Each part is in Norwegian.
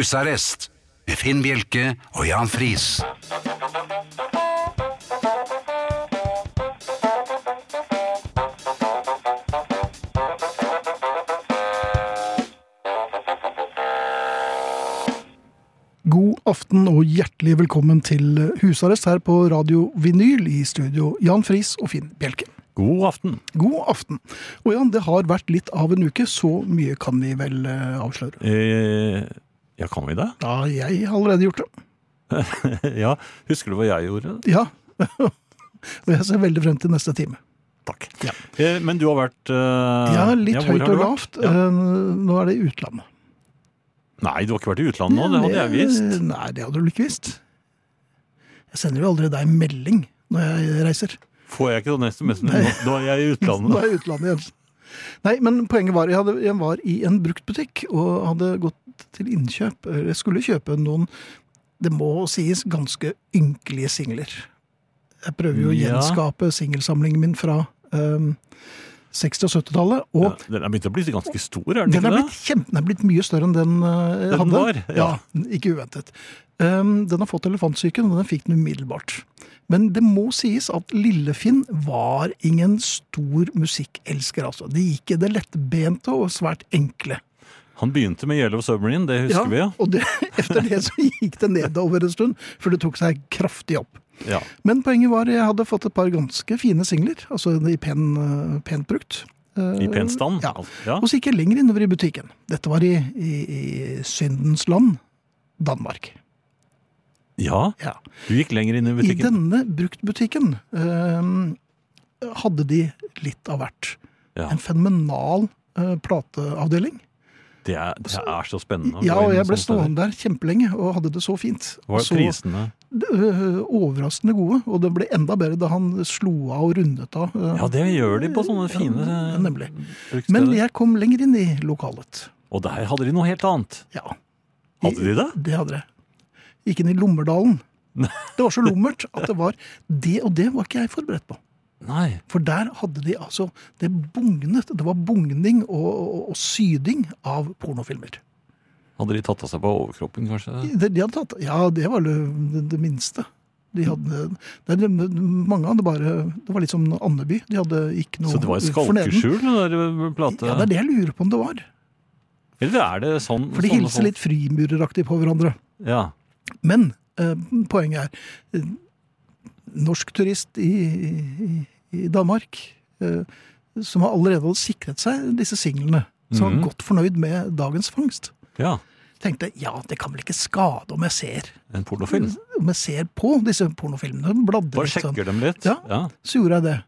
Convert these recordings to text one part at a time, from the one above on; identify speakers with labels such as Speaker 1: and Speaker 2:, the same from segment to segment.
Speaker 1: Husarrest med Finn Bjelke og Jan Friis.
Speaker 2: God aften og hjertelig velkommen til husarrest her på Radio Vinyl i studio Jan Friis og Finn Bjelke.
Speaker 3: God aften.
Speaker 2: God aften. Og Jan, det har vært litt av en uke, så mye kan vi vel eh, avsløre.
Speaker 3: Eh, ja, kan vi det?
Speaker 2: Ja, jeg har allerede gjort det.
Speaker 3: ja. Husker du hva jeg gjorde?
Speaker 2: Ja. Og jeg ser veldig frem til neste time.
Speaker 3: Takk.
Speaker 2: Ja.
Speaker 3: Eh, men du har vært eh,
Speaker 2: Ja, litt
Speaker 3: hvor
Speaker 2: høyt
Speaker 3: har du
Speaker 2: og
Speaker 3: vært?
Speaker 2: lavt. Eh, Nå er det i utlandet.
Speaker 3: Nei, du har ikke vært i utlandet nå. Det hadde jeg visst.
Speaker 2: Eh, Nei, det hadde du ikke visst. Jeg sender jo aldri deg melding når jeg reiser.
Speaker 3: Får jeg ikke sånn SMS? Nå, nå er jeg i
Speaker 2: Nå
Speaker 3: utlandet.
Speaker 2: er jeg i utlandet igjen. Nei, men poenget var jeg, hadde, jeg var i en bruktbutikk og hadde gått til innkjøp. Jeg skulle kjøpe noen, det må sies, ganske ynkelige singler. Jeg prøver jo å
Speaker 3: Ja.
Speaker 2: gjenskape singelsamlingen min fra ehm, 60- og 70-tallet. Og
Speaker 3: Ja, den er begynt å bli ganske stor, er den
Speaker 2: den
Speaker 3: ikke
Speaker 2: er
Speaker 3: det?
Speaker 2: blitt, kjempe, den er blitt mye større enn den eh, jeg
Speaker 3: Den
Speaker 2: hadde.
Speaker 3: var,
Speaker 2: ja.
Speaker 3: ja.
Speaker 2: Ikke uventet. Ehm, den har fått elefantsyken, og den fikk den umiddelbart. Men det må sies at Lillefinn var ingen stor musikkelsker, altså. De gikk i det lettbente og svært enkle.
Speaker 3: Han begynte med Yellow Submarine, det husker vi, ja.
Speaker 2: Og det, etter det så gikk det nedover en stund, for det tok seg kraftig opp.
Speaker 3: ja.
Speaker 2: Men poenget var jeg hadde fått et par ganske fine singler, altså i pen, eh, pent brukt. Eh,
Speaker 3: I pen stand.
Speaker 2: Ja.
Speaker 3: ja.
Speaker 2: Og så gikk jeg lenger innover i butikken. Dette var i, i, i syndens land, Danmark.
Speaker 3: ja.
Speaker 2: Ja.
Speaker 3: Du gikk lenger inn i
Speaker 2: I
Speaker 3: butikken.
Speaker 2: denne bruktbutikken eh, hadde de litt av hvert.
Speaker 3: Ja.
Speaker 2: En fenomenal eh, plateavdeling.
Speaker 3: Det er, det er så spennende. å
Speaker 2: Ja,
Speaker 3: gå
Speaker 2: og
Speaker 3: inn
Speaker 2: jeg ble
Speaker 3: sånne steder.
Speaker 2: stående der kjempelenge og hadde det så fint. Og
Speaker 3: Hva er
Speaker 2: så,
Speaker 3: prisene?
Speaker 2: eh, overraskende gode, og det ble enda bedre da han slo av og rundet av. eh,
Speaker 3: Ja, eh, det gjør de på sånne fine
Speaker 2: ja, nemlig.
Speaker 3: brukssteder.
Speaker 2: Men jeg kom lenger inn i lokalet.
Speaker 3: Og der hadde de noe helt annet.
Speaker 2: Ja.
Speaker 3: Hadde de det?
Speaker 2: Det hadde jeg. Gikk inn i Lommerdalen. Det var så lummert at det var Det og det var ikke jeg forberedt på.
Speaker 3: Nei.
Speaker 2: For der hadde de altså Det bugnet. Det var bugning og, og, og syding av pornofilmer.
Speaker 3: Hadde de tatt av seg på overkroppen, kanskje?
Speaker 2: De, de hadde tatt Ja, det var det, det, det minste. De hadde, det, det, mange hadde bare Det var litt som Andeby. De hadde ikke noe
Speaker 3: Så det var et
Speaker 2: forneden.
Speaker 3: skalkeskjul, den der eh, plate?
Speaker 2: Ja, det er det jeg lurer på om det var.
Speaker 3: Eller er det sånn?
Speaker 2: For de
Speaker 3: sånne
Speaker 2: hilser
Speaker 3: folk-
Speaker 2: litt frimureraktig på hverandre.
Speaker 3: Ja.
Speaker 2: Men eh, poenget er eh, Norsk turist i, i, i Danmark, eh, som har allerede hadde sikret seg disse singlene, som
Speaker 3: Mhm.
Speaker 2: var godt fornøyd med dagens fangst,
Speaker 3: ja.
Speaker 2: tenkte ja, det kan vel ikke skade om jeg ser,
Speaker 3: En pornofilm.
Speaker 2: om jeg ser på disse pornofilmene. bladrer
Speaker 3: Bare
Speaker 2: litt sånn.
Speaker 3: sjekker dem litt.
Speaker 2: Ja. Så gjorde jeg det.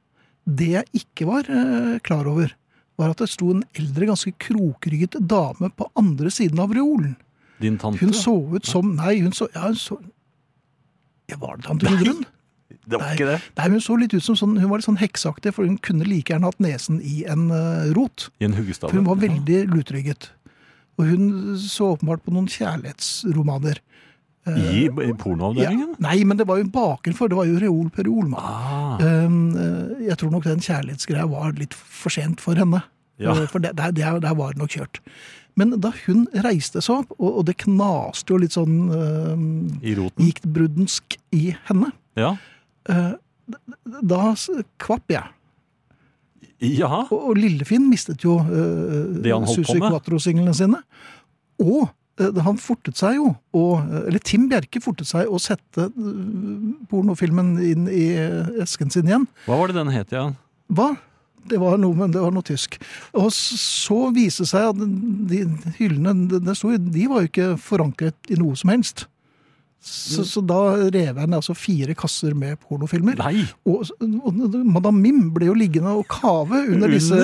Speaker 2: Det jeg ikke var eh, klar over, var at det sto en eldre, ganske krokrygget dame på andre siden av reolen.
Speaker 3: Din tante.
Speaker 2: Hun så ut som Nei, hun så, ja, hun så ja, Var det tante Gudrun?
Speaker 3: Det var
Speaker 2: Nei.
Speaker 3: ikke det.
Speaker 2: Nei, men hun så litt ut som sånn, hun var litt sånn hekseaktig, for hun kunne like gjerne hatt nesen i en eh, rot.
Speaker 3: I en huggestave.
Speaker 2: For hun var veldig lutrygget. Og hun så åpenbart på noen kjærlighetsromaner.
Speaker 3: I, i
Speaker 2: eh, Ja,
Speaker 3: pornoavdelingen?
Speaker 2: nei, men det var jo bakenfor. Det var jo reol per reol. mann.
Speaker 3: Ah,
Speaker 2: Um, eh, jeg tror nok den kjærlighetsgreia var litt for sent for henne.
Speaker 3: Ja.
Speaker 2: Eh, For det, der, der, der var det nok kjørt. Men da hun reiste seg opp, og, og det knaste jo litt sånn eh,
Speaker 3: I roten.
Speaker 2: gikk bruddensk i henne,
Speaker 3: Ja.
Speaker 2: eh, d- d- da s- kvapp jeg.
Speaker 3: ja.
Speaker 2: Og, og Lillefinn mistet jo uh,
Speaker 3: Det han holdt på
Speaker 2: Susi
Speaker 3: med.
Speaker 2: Quatro-singlene sine. Og eh, han fortet seg jo, og, eller Tim Bjerke fortet seg å sette eh, pornofilmen inn i eh, esken sin igjen.
Speaker 3: Hva var det den het igjen?
Speaker 2: Hva? Det var noe, men det var noe tysk. Og s- så viste det seg at de hyllene det- det sto i, de var jo ikke forankret i noe som helst. Så, så da rev jeg ned altså fire kasser med pornofilmer.
Speaker 3: Nei!
Speaker 2: Og, og Madame Mim ble jo liggende og kave under disse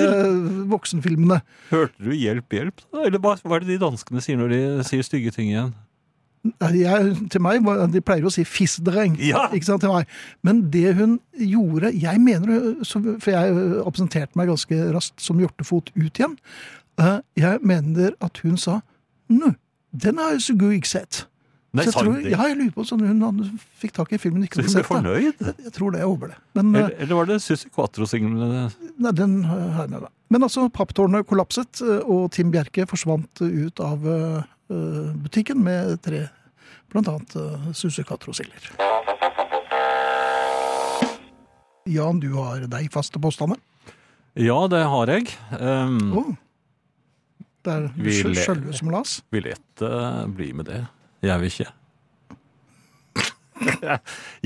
Speaker 2: voksenfilmene.
Speaker 3: Hørte du 'hjelp, hjelp'? da? Eller hva hva er det de danskene sier når de sier stygge ting igjen?
Speaker 2: Nei, Jeg, til meg, var- De pleier jo å si 'fissdreng'.
Speaker 3: Ja.
Speaker 2: Ikke sant, til meg. Men det hun gjorde Jeg mener, hun- så- for jeg absenterte meg ganske raskt som hjortefot ut igjen. Eh, Jeg mener at hun sa 'Nå, den har jeg så god ikke sett'.
Speaker 3: Nei,
Speaker 2: så jeg
Speaker 3: sa
Speaker 2: tror,
Speaker 3: hun det?
Speaker 2: ja, jeg lurer på sånn hun, han fikk tak i filmen ikke hadde
Speaker 3: Så hun ble
Speaker 2: sett. da.
Speaker 3: fornøyd?
Speaker 2: Jeg, jeg tror det. Jeg håper det. Men eh,
Speaker 3: Eller, eller var det Susi Quatro-singlene?
Speaker 2: Nei, den har jeg med meg. Men altså, papptårnet kollapset, og Tim Bjerke forsvant ut av eh, eh, butikken med tre, blant annet eh, sussekatter og silder. Jan, du har deg faste påstander.
Speaker 3: Ja, det har jeg. Um,
Speaker 2: Å. Det er
Speaker 3: Vi
Speaker 2: sjø-
Speaker 3: ler.
Speaker 2: sjølve som las.
Speaker 3: Vil gjette bli med det. Jeg vil ikke.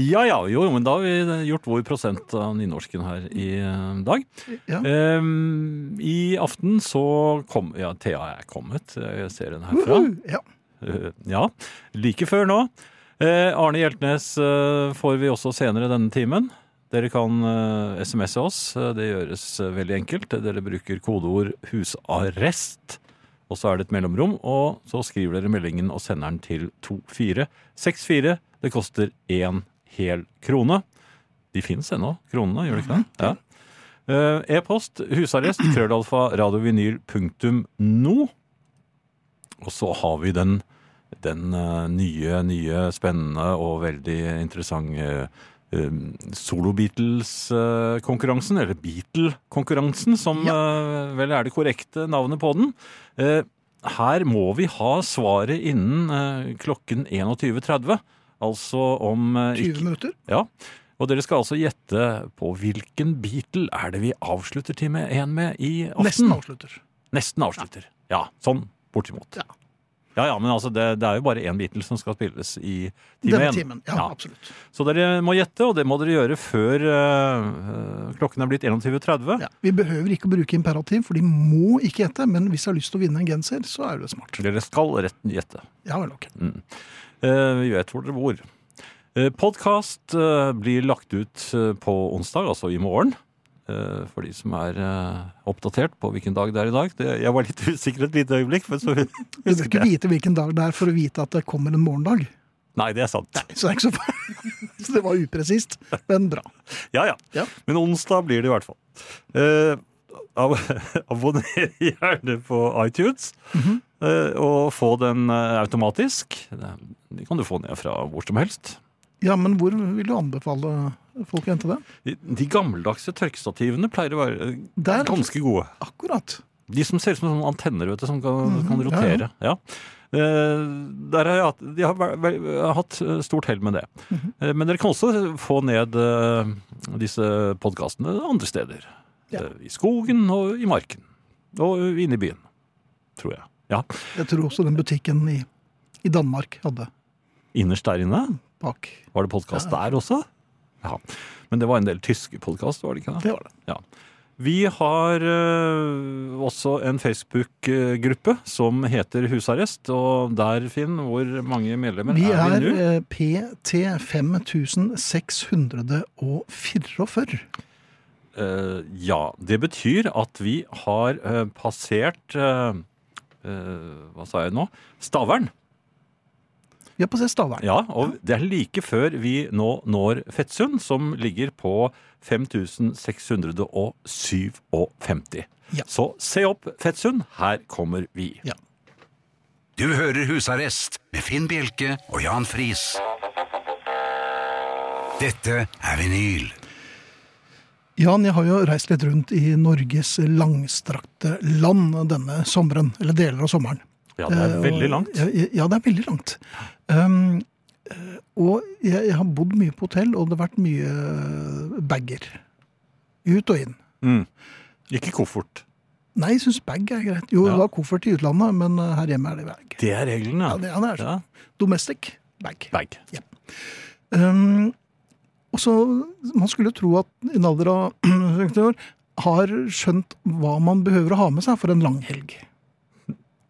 Speaker 3: ja ja, jo, men da har vi gjort vår prosent av nynorsken her i eh, dag.
Speaker 2: Ja.
Speaker 3: Ehm, I aften så kom Ja, Thea er kommet. Jeg ser henne herfra.
Speaker 2: Uhu, ja.
Speaker 3: Eh, ja. Like før nå. Eh, Arne Hjeltnes eh, får vi også senere denne timen. Dere kan eh, SMS-e oss. Eh, Det gjøres eh, veldig enkelt. Dere bruker kodeord 'husarrest', og så er det et mellomrom. Og så skriver dere meldingen og sender den til 2464. Det koster én hel krone. De fins ennå, kronene, gjør de ikke det? Ja. Eh, E-post husarrest krøllalfa radiovinyl punktum no. Og så har vi den den eh, nye, nye, spennende og veldig interessante eh, Solo-Beatles-konkurransen, eller Beatle-konkurransen, som eh, vel er det korrekte navnet på den. Eh, her må vi ha svaret innen eh, klokken 21.30, altså om eh,
Speaker 2: 20 minutter.
Speaker 3: ja, og dere skal altså gjette på hvilken Beatle er det vi avslutter time 1 med i aften.
Speaker 2: Nesten avslutter.
Speaker 3: Nesten avslutter. Ja, sånn bortimot.
Speaker 2: Ja.
Speaker 3: Ja, ja, men altså, det, det er jo bare én Beatle som skal spilles i time
Speaker 2: Denne
Speaker 3: én.
Speaker 2: timen. Ja,
Speaker 3: Ja.
Speaker 2: absolutt.
Speaker 3: Så dere må gjette, og det må dere gjøre før eh, eh, klokken er blitt 21.30.
Speaker 2: Ja. Vi behøver ikke å bruke imperativ, for de må ikke gjette. Men hvis jeg har lyst til å vinne en genser, så er det smart.
Speaker 3: Dere skal rett gjette.
Speaker 2: Ja vel, ok.
Speaker 3: Eh, Vi vet hvor dere bor. Eh, Podkast eh, blir lagt ut eh, på onsdag, altså i morgen. Eh, For de som er eh, oppdatert på hvilken dag det er i dag. Det, jeg var litt usikker et lite øyeblikk, men så
Speaker 2: Du skal ikke vite hvilken dag det er for å vite at det kommer en morgendag.
Speaker 3: Nei, det er sant.
Speaker 2: Så det er ikke så farlig. Så det var upresist, men bra.
Speaker 3: Ja, ja.
Speaker 2: Ja.
Speaker 3: Men onsdag blir det i hvert fall. Eh, ab abonner gjerne på iTunes,
Speaker 2: Mhm.
Speaker 3: eh, og få den eh, automatisk. Det kan du få ned fra hvor som helst.
Speaker 2: Ja, men hvor vil du anbefale folk å hente det?
Speaker 3: De- De gammeldagse tørkestativene pleier å være eh,
Speaker 2: Der.
Speaker 3: ganske gode.
Speaker 2: Akkurat.
Speaker 3: De som ser ut som sånne antenner, vet du, som kan,
Speaker 2: Mhm,
Speaker 3: kan
Speaker 2: ja,
Speaker 3: rotere. Ja, Eh, Der har jeg hatt, de har væ- væ- hatt eh, stort hell med det.
Speaker 2: Mhm.
Speaker 3: Eh, Men dere kan også få ned eh, disse podkastene andre steder.
Speaker 2: Ja.
Speaker 3: Eh, I skogen og i marken. Og eh, inne i byen, tror jeg. Ja,
Speaker 2: Jeg tror også den butikken i, i Danmark hadde
Speaker 3: Innerst der inne
Speaker 2: bak.
Speaker 3: var det podkast der også. Ja. Men det var en del tyske podkast, var det ikke det?
Speaker 2: Det var det.
Speaker 3: Ja. Vi har eh, også en Facebook-gruppe som heter Husarrest. Og der, Finn, hvor mange medlemmer
Speaker 2: Vi
Speaker 3: er,
Speaker 2: er
Speaker 3: vi nå?
Speaker 2: eh, PT 5644.
Speaker 3: Eh, ja. Det betyr at vi har eh, passert eh, eh, Hva sa jeg nå? Stavern.
Speaker 2: Vi er på Stavern.
Speaker 3: Ja, og det er like før vi nå når Fettsund, som ligger på 5657.
Speaker 2: Ja.
Speaker 3: Så se opp Fettsund, her kommer vi.
Speaker 2: Ja.
Speaker 1: Du hører Husarrest med Finn Bjelke og Jan Friis. Dette er vinyl.
Speaker 2: Jan, jeg har jo reist litt rundt i Norges langstrakte land denne sommeren. Eller deler av sommeren.
Speaker 3: Ja, det er
Speaker 2: Eh, og-
Speaker 3: veldig langt.
Speaker 2: Ja, ja, det er veldig langt. Um, eh, og jeg, jeg har bodd mye på hotell, og det har vært mye bager. Ut og inn.
Speaker 3: Mm. Ikke koffert.
Speaker 2: Nei, jeg syns bag er greit. Jo,
Speaker 3: Ja.
Speaker 2: det var koffert i utlandet, men eh, her hjemme er det bag.
Speaker 3: Det er reglene.
Speaker 2: Ja, det, ja, det er sånn.
Speaker 3: Ja.
Speaker 2: Domestic bag.
Speaker 3: Bag.
Speaker 2: Um, og så, Man skulle tro at i en alder av 50 år har skjønt hva man behøver å ha med seg for en lang helg.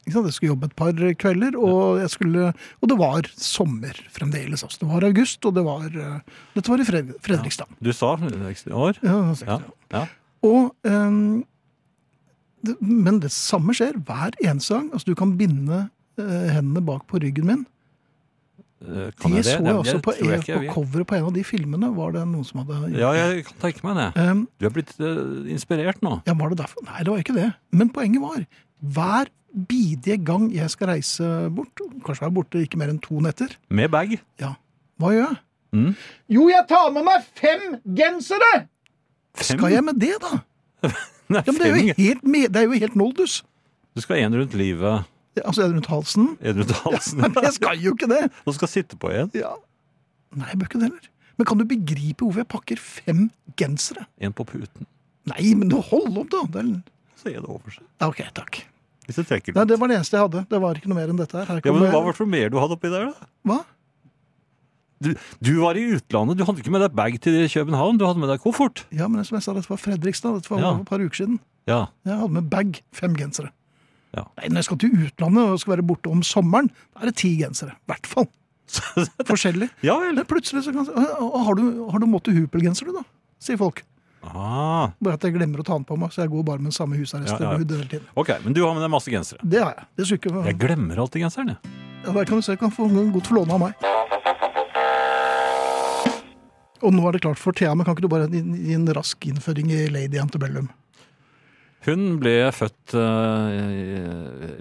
Speaker 2: Ikke sant? Jeg skulle jobbe et par kvelder, og, jeg skulle, og det var sommer fremdeles. Altså. Det var august, og det var, eh, dette var i Fred Fredrikstad.
Speaker 3: Du sa 60 år.
Speaker 2: Ja, det var sikkert,
Speaker 3: Ja.
Speaker 2: ja.
Speaker 3: ja.
Speaker 2: Og, ehm, det, men det samme skjer hver eneste gang. Altså, du kan binde eh, hendene bak på ryggen min.
Speaker 3: Eh, Kan
Speaker 2: De
Speaker 3: jeg
Speaker 2: så
Speaker 3: det?
Speaker 2: jeg
Speaker 3: Nei,
Speaker 2: også
Speaker 3: det
Speaker 2: på, E-
Speaker 3: tror jeg ikke jeg
Speaker 2: på
Speaker 3: vil.
Speaker 2: coveret på en av de filmene. Var det noen som hadde gjort
Speaker 3: Ja, jeg kan tenke meg det.
Speaker 2: Ehm,
Speaker 3: Du er blitt eh, inspirert nå.
Speaker 2: ja, var det derfor? Nei, det var ikke det. Men poenget var, hver bidige gang jeg skal reise bort, kanskje være borte ikke mer enn to netter,
Speaker 3: Med bag.
Speaker 2: ja, hva gjør jeg?
Speaker 3: Mm.
Speaker 2: Jo, jeg tar med meg fem gensere!
Speaker 3: Fem?
Speaker 2: Skal jeg med det, da?
Speaker 3: Nei,
Speaker 2: Ja, men det, er jo
Speaker 3: fem.
Speaker 2: helt, me- det er jo helt noldus.
Speaker 3: Du skal én rundt livet.
Speaker 2: Altså er det rundt halsen?
Speaker 3: Edmund Hansen.
Speaker 2: Men jeg skal jo ikke det!
Speaker 3: Som skal sitte på en.
Speaker 2: Ja. Nei, jeg bør ikke det heller. Men kan du begripe hvorfor jeg pakker fem gensere?
Speaker 3: En på puten.
Speaker 2: Nei, men du hold opp, da! Det er...
Speaker 3: Så er det over seg.
Speaker 2: Ja, OK, takk.
Speaker 3: Hvis du trekker
Speaker 2: Nei,
Speaker 3: den.
Speaker 2: det var det eneste jeg hadde. Det var ikke noe mer enn dette her. her
Speaker 3: Ja,
Speaker 2: kom
Speaker 3: men
Speaker 2: det-
Speaker 3: Hva var det for mer du hadde oppi der, da?
Speaker 2: Hva?
Speaker 3: Du, du var i utlandet. Du hadde ikke med deg bag til København. Du hadde med deg koffert.
Speaker 2: Ja, men som jeg sa, dette var Fredrikstad. Dette var
Speaker 3: Ja.
Speaker 2: for et par uker siden.
Speaker 3: Ja.
Speaker 2: Jeg hadde med bag fem gensere.
Speaker 3: Ja.
Speaker 2: Nei, når jeg skal til utlandet og skal være borte om sommeren, da er det ti gensere. I hvert fall. Forskjellig.
Speaker 3: Ja vel.
Speaker 2: Eller plutselig så kan jeg si, «Å, å, Har du, har du måttet hupelgenser, du, da? Sier folk.
Speaker 3: Ah,
Speaker 2: Bare at jeg glemmer å ta den på meg, så jeg går bare med den samme husarresten
Speaker 3: Ja, ja.
Speaker 2: hele tiden.
Speaker 3: ok, men du har med deg masse gensere.
Speaker 2: Det har jeg. Det skulle ikke
Speaker 3: Jeg glemmer alltid genseren, jeg.
Speaker 2: Ja, Der kan du se, kan få godt få låne av meg. Og nå er det klart for Thea, men kan ikke du bare gi gi en rask innføring i Lady Antebellum?
Speaker 3: Hun ble født eh,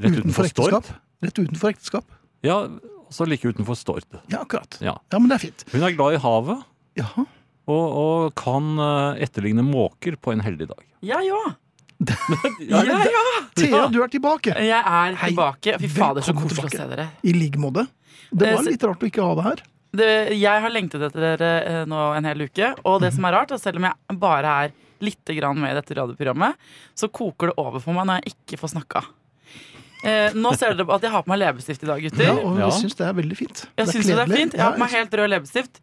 Speaker 3: rett utenfor, Stord.
Speaker 2: ekteskap? Rett utenfor ekteskap?
Speaker 3: Ja, altså like utenfor Stord.
Speaker 2: Ja, akkurat.
Speaker 3: Ja.
Speaker 2: Ja, men det er fint.
Speaker 3: Hun er glad i havet
Speaker 2: Jaha.
Speaker 3: og, og kan eh, etterligne måker på en heldig dag.
Speaker 4: Ja, ja.
Speaker 3: Ja,
Speaker 4: ja, ja.
Speaker 2: Thea, du er tilbake!
Speaker 4: Jeg er
Speaker 2: Hei,
Speaker 4: tilbake. Fy fader, så
Speaker 2: velkommen
Speaker 4: koselig å
Speaker 2: tilbake.
Speaker 4: se dere.
Speaker 2: I like måte. Det
Speaker 4: Eh,
Speaker 2: var
Speaker 4: så-
Speaker 2: litt rart å ikke ha deg her.
Speaker 4: Det, jeg har lengtet etter dere eh, nå en hel uke. Og det som er rart, er at selv om jeg bare er litt grann med i dette radioprogrammet, så koker det over for meg når jeg ikke får snakka. Eh, nå ser dere at jeg har på meg leppestift i dag, gutter.
Speaker 2: Ja, og
Speaker 3: Ja.
Speaker 2: jeg syns det er veldig fint.
Speaker 4: Jeg synes jo det er
Speaker 2: kledelig.
Speaker 4: fint. Jeg har på meg helt rød leppestift.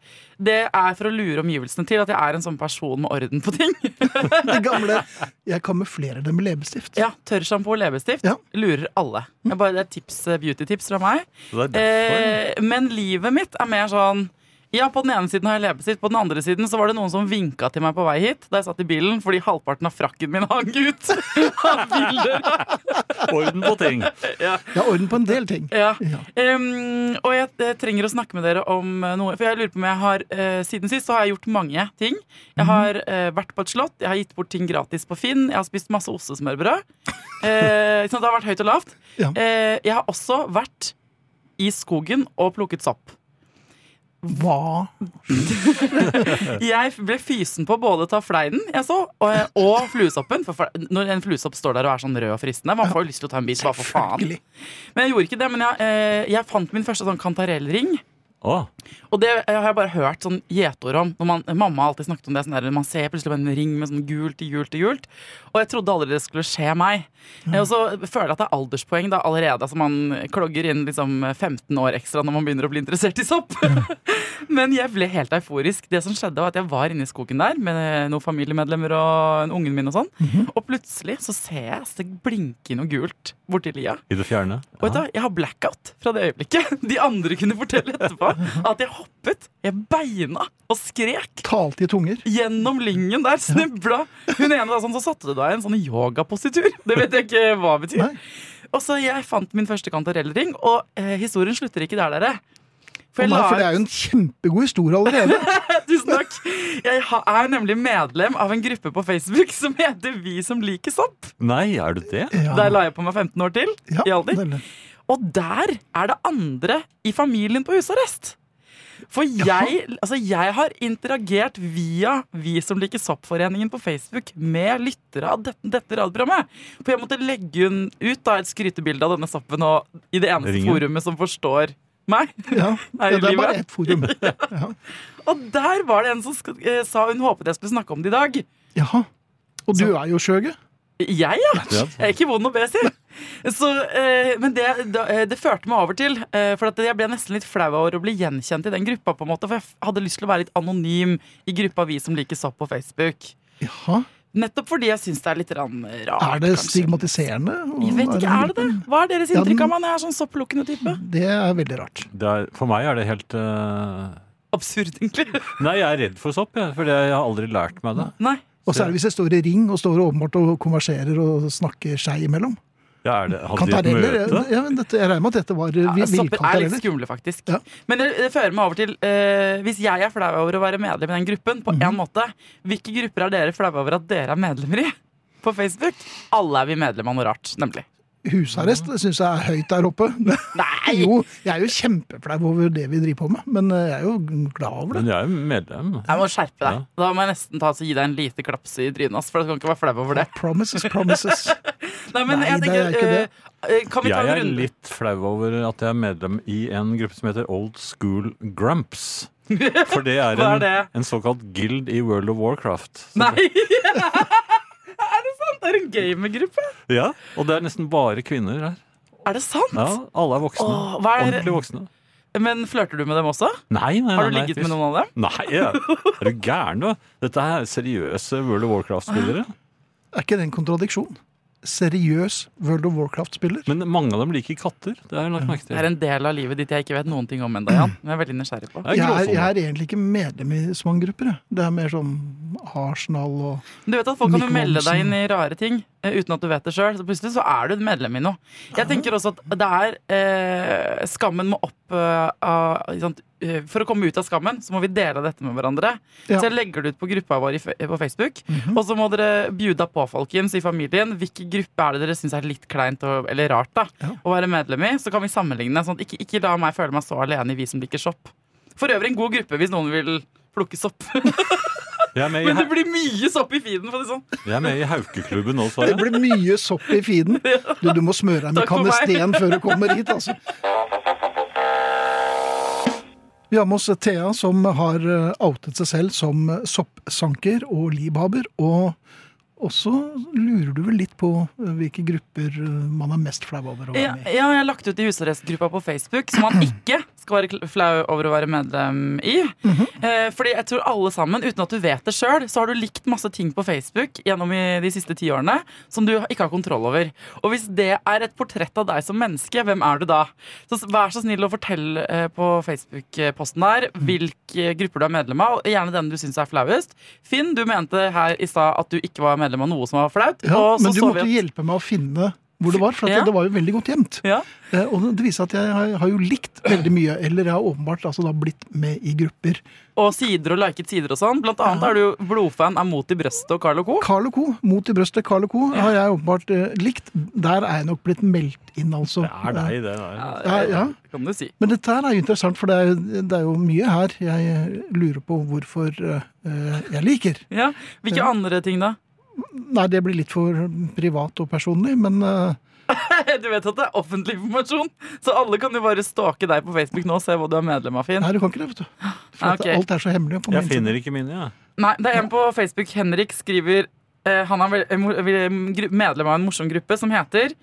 Speaker 4: Det er for å lure omgivelsene til at jeg er en sånn person med orden på ting.
Speaker 2: Det gamle Jeg kamuflerer det med leppestift.
Speaker 4: Ja, Tørrsjampo og leppestift
Speaker 2: Ja.
Speaker 4: lurer alle. Det er bare det er tips, eh, beauty-tips fra meg.
Speaker 3: Så det er derfor.
Speaker 4: Eh, men livet mitt er mer sånn ja, på den ene siden har jeg leppestift, på den andre siden så var det noen som vinka til meg på vei hit da jeg satt i bilen fordi halvparten av frakken min hang ut. av bilder.
Speaker 3: Orden på ting.
Speaker 2: Jeg har orden på en del ting.
Speaker 4: Ja.
Speaker 2: Ja.
Speaker 4: Em, og jeg, eh, trenger å snakke med dere om eh, noe. For jeg lurer på om jeg har eh, Siden sist så har jeg gjort mange ting. Jeg har eh, vært på et slott, jeg har gitt bort ting gratis på Finn, jeg har spist masse ostesmørbrød. Eh, så det har vært høyt og lavt.
Speaker 2: Ja.
Speaker 4: Eh, jeg har også vært i skogen og plukket sopp.
Speaker 2: Hva
Speaker 4: Jeg ble fysen på både å ta fleinen jeg så, og, og fluesoppen. For fle- når en fluesopp står der og er sånn rød og fristende, man får jo lyst til å ta en bit. Bare for faen.
Speaker 2: Følgelig.
Speaker 4: Men jeg gjorde ikke det, men jeg, eh, jeg fant min første sånn kantarellring.
Speaker 3: Å,
Speaker 4: Og det har jeg bare hørt sånn gjetord om. Når man, mamma har alltid snakket om det. Sånn der, man ser plutselig på en ring med sånn gult i gult i gult. Og jeg trodde aldri det skulle skje meg. Og så føler jeg at det er alderspoeng da allerede. Altså man klogger inn liksom 15 år ekstra når man begynner å bli interessert i sopp. Men jeg ble helt euforisk. Det som skjedde var at jeg var inne i skogen der med noen familiemedlemmer og en ungen min og sånn. Og plutselig så ser jeg så det blinker noe gult borti lia.
Speaker 3: I det fjerne.
Speaker 4: Og vet du, hva? jeg har blackout fra det øyeblikket. De andre kunne fortelle etterpå at jeg hoppet, jeg beina og skrek
Speaker 2: Talte i tunger.
Speaker 4: gjennom lyngen der. Snubla. Hun ene da sånn, så satte du deg i en sånn yogapositur. Det vet jeg ikke hva det betyr.
Speaker 2: Nei.
Speaker 4: Og så jeg fant min første kantarellring, og eh, historien slutter ikke der, dere.
Speaker 2: For,
Speaker 4: For jeg
Speaker 2: meg, for det
Speaker 4: la
Speaker 2: er jo en kjempegod historie allerede.
Speaker 4: Tusen takk. Jeg ha- er nemlig medlem av en gruppe på Facebook som heter Vi som liker sopp.
Speaker 3: Nei, er du det?
Speaker 2: Ja.
Speaker 4: Der la jeg på meg 15 år til
Speaker 2: Ja,
Speaker 4: i alder.
Speaker 2: veldig.
Speaker 4: Og der er det andre i familien på husarrest. For jeg, altså jeg har interagert via Vi som liker soppforeningen på Facebook med lyttere av dette, dette radioprogrammet. For jeg måtte legge hun- ut da, et skrytebilde av denne soppen og i det eneste
Speaker 3: Ringen.
Speaker 4: forumet som forstår meg.
Speaker 2: Ja.
Speaker 4: Er
Speaker 2: ja,
Speaker 4: det
Speaker 2: det er bare
Speaker 4: livet?
Speaker 2: ett forum. Ja.
Speaker 4: Og der var det en som sk- eh, sa hun håpet jeg skulle snakke om det i dag.
Speaker 2: Jaha. Og du er jo skjøge.
Speaker 4: Jeg, ja.
Speaker 3: Ja.
Speaker 4: Jeg er ikke vond å be, si. Så, eh, men det, da, eh, det førte meg over til eh, For at jeg ble nesten litt flau over å bli gjenkjent i den gruppa. på en måte For jeg f- hadde lyst til å være litt anonym i gruppa vi som liker sopp på Facebook.
Speaker 2: Jaha.
Speaker 4: Nettopp fordi jeg syns det er litt rann rart.
Speaker 2: Er det
Speaker 4: kanskje.
Speaker 2: stigmatiserende?
Speaker 4: Jeg vet ikke, Er det det? Hva er deres
Speaker 2: Ja, den-
Speaker 4: inntrykk av meg når jeg er sånn sopplukkende type?
Speaker 2: Det er veldig rart.
Speaker 3: Det er, for meg er det helt eh,
Speaker 4: Absurd, egentlig.
Speaker 3: Nei, jeg er redd for sopp, jeg, for jeg har aldri lært meg det.
Speaker 4: Nei.
Speaker 2: Og særlig hvis jeg står i ring og står åpenbart og konverserer og snakker seg imellom.
Speaker 3: Ja, er det hadde de et
Speaker 2: Kantareller
Speaker 3: møte?
Speaker 2: ja, men dette, Jeg regner med at dette var ja,
Speaker 4: Ja, Sopper er litt
Speaker 2: villkantareller.
Speaker 4: skumle, faktisk.
Speaker 2: Ja.
Speaker 4: Men det, det fører meg over til eh, Hvis jeg er flau over å være medlem i den gruppen, på
Speaker 2: Mhm.
Speaker 4: en måte, hvilke grupper er dere flau over at dere er medlemmer i? På Facebook? Alle er vi medlem av noe rart, nemlig.
Speaker 2: Husarrest syns jeg er høyt der oppe.
Speaker 4: Nei!
Speaker 2: Jo, jeg er jo kjempeflau over det vi driver på med, men eh, jeg er jo glad over det.
Speaker 3: Men jeg er jo medlem.
Speaker 4: Jeg må skjerpe deg.
Speaker 3: Ja.
Speaker 4: Da må jeg nesten ta, så gi deg en lite klaps i trynet. ass, For du kan ikke være flau over det.
Speaker 2: Promises, promises.
Speaker 4: Nei, men
Speaker 2: Nei,
Speaker 4: jeg
Speaker 2: det er
Speaker 4: tenker,
Speaker 2: ikke det.
Speaker 4: eh, kan vi ta
Speaker 3: Jeg
Speaker 4: en
Speaker 3: er
Speaker 4: runde?
Speaker 3: litt flau over at jeg er medlem i en gruppe som heter Old School Grumps. For det er,
Speaker 4: Hva er
Speaker 3: en,
Speaker 4: det?
Speaker 3: en såkalt guild i World of Warcraft. Så-
Speaker 4: Nei! er det sant? Det er en gamergruppe.
Speaker 3: Ja, og det er nesten bare kvinner her.
Speaker 4: Er det sant?
Speaker 3: Ja, alle er voksne.
Speaker 4: Åh, hva er-
Speaker 3: Ordentlig voksne.
Speaker 4: Men flørter du med dem også?
Speaker 3: Nei, nei,
Speaker 4: Har du
Speaker 3: nei, nei,
Speaker 4: ligget
Speaker 3: fy-
Speaker 4: med noen av dem?
Speaker 3: Nei, ja. er du gæren du? Dette er seriøse World of Warcraft-spillere.
Speaker 2: Er ikke det en kontradiksjon? Seriøs World of Warcraft-spiller?
Speaker 3: Men mange av dem liker katter. Det har jeg lagt merke til.
Speaker 4: Det er en del av livet ditt jeg ikke vet noen ting om ennå, Jan. Men jeg er veldig nysgjerrig på.
Speaker 2: Jeg
Speaker 3: Det er sånn.
Speaker 2: er,
Speaker 3: gråsoner.
Speaker 2: jeg er egentlig ikke medlem i så mange grupper. jeg. Det er mer sånn Arsenal og
Speaker 4: Men Du vet at Folk kan jo
Speaker 2: Nick
Speaker 4: melde deg
Speaker 2: Monsen.
Speaker 4: inn i rare ting eh, uten at du vet det sjøl. Så plutselig så er du et medlem i noe. Jeg tenker også at det er eh, Skammen må opp eh, av, ikke sant, eh, For å komme ut av skammen, så må vi dele dette med hverandre.
Speaker 2: Ja. Mhm.
Speaker 4: Så jeg legger det ut på gruppa vår i, fe- på Facebook. Og så må dere bjuda på, folkens, i familien. Hvilken gruppe er det dere syns er litt kleint og, eller rart da,
Speaker 2: Ja.
Speaker 4: å være medlem i? Så kan vi sammenligne. Sånn at ikke, ikke la meg føle meg så alene i Vi som liker sopp. For øvrig en god gruppe hvis noen vil plukke sopp.
Speaker 3: Jeg er med i,
Speaker 4: Men det
Speaker 3: Hau-
Speaker 4: blir mye sopp i feeden, for å si det sånn.
Speaker 3: jeg er med i Haukeklubben nå,
Speaker 2: Det
Speaker 3: Sverre.
Speaker 2: blir mye sopp i feeden. Du, du må smøre deg med
Speaker 4: Takk for meg.
Speaker 2: kanesten før du kommer hit, altså. Vi har med oss Thea, som har eh, outet seg selv som soppsanker og livhaber. Og også lurer du vel litt på eh, hvilke grupper eh, man er mest flau over å
Speaker 4: Ja,
Speaker 2: være med i.
Speaker 4: ja, jeg har lagt ut i husarrestgruppa på Facebook, som man ikke skal være kl- flau over å være medlem i.
Speaker 2: Mhm.
Speaker 4: eh, fordi jeg tror alle sammen, uten at du vet det sjøl, så har du likt masse ting på Facebook gjennom i de siste ti årene som du ikke har kontroll over. Og hvis det er et portrett av deg som menneske, hvem er du da? Så s- vær så snill å fortelle eh, på Facebook-posten der
Speaker 2: Mhm.
Speaker 4: hvilke grupper du er medlem av, og gjerne den du syns er flauest. Finn, du mente her i stad at du ikke var medlem av noe som var flaut.
Speaker 2: Ja,
Speaker 4: og så
Speaker 2: men du
Speaker 4: så vi
Speaker 2: måtte
Speaker 4: at-
Speaker 2: hjelpe meg å finne hvor det var, for at
Speaker 4: Ja.
Speaker 2: det var jo veldig godt gjemt.
Speaker 4: ja.
Speaker 2: Eh, Og det viser at jeg har- har jo likt veldig mye, eller jeg har åpenbart altså da blitt med i grupper.
Speaker 4: og sider og liket sider og sånn. Blant annet er du jo blodfan av Mot i brøstet og Carl og Co.
Speaker 2: Carl Co. Mot i brøstet Carl Co. har jeg åpenbart eh, likt. Der er jeg nok blitt meldt inn, altså.
Speaker 3: Det er deg, det der.
Speaker 2: Ja, ja.
Speaker 4: Det kan du si.
Speaker 2: Men dette her er jo interessant, for det er, jo- det er jo mye her jeg eh, lurer på hvorfor eh, jeg liker.
Speaker 4: Ja. Hvilke andre ting da?
Speaker 2: Nei, det blir litt for privat og personlig, men eh,
Speaker 4: Du vet at det er offentlig informasjon, så alle kan jo bare stalke deg på Facebook nå og se hva du er medlem av, Finn.
Speaker 2: nei, du kan ikke det, vet du. For at
Speaker 4: Ok.
Speaker 2: alt er så hemmelig. På
Speaker 3: Jeg
Speaker 2: min side.
Speaker 3: finner ikke mine, jeg.
Speaker 4: Nei, det er en på Facebook. Henrik skriver eh, Han er vel- eh, mo- vel- gru- medlem av en morsom gruppe som heter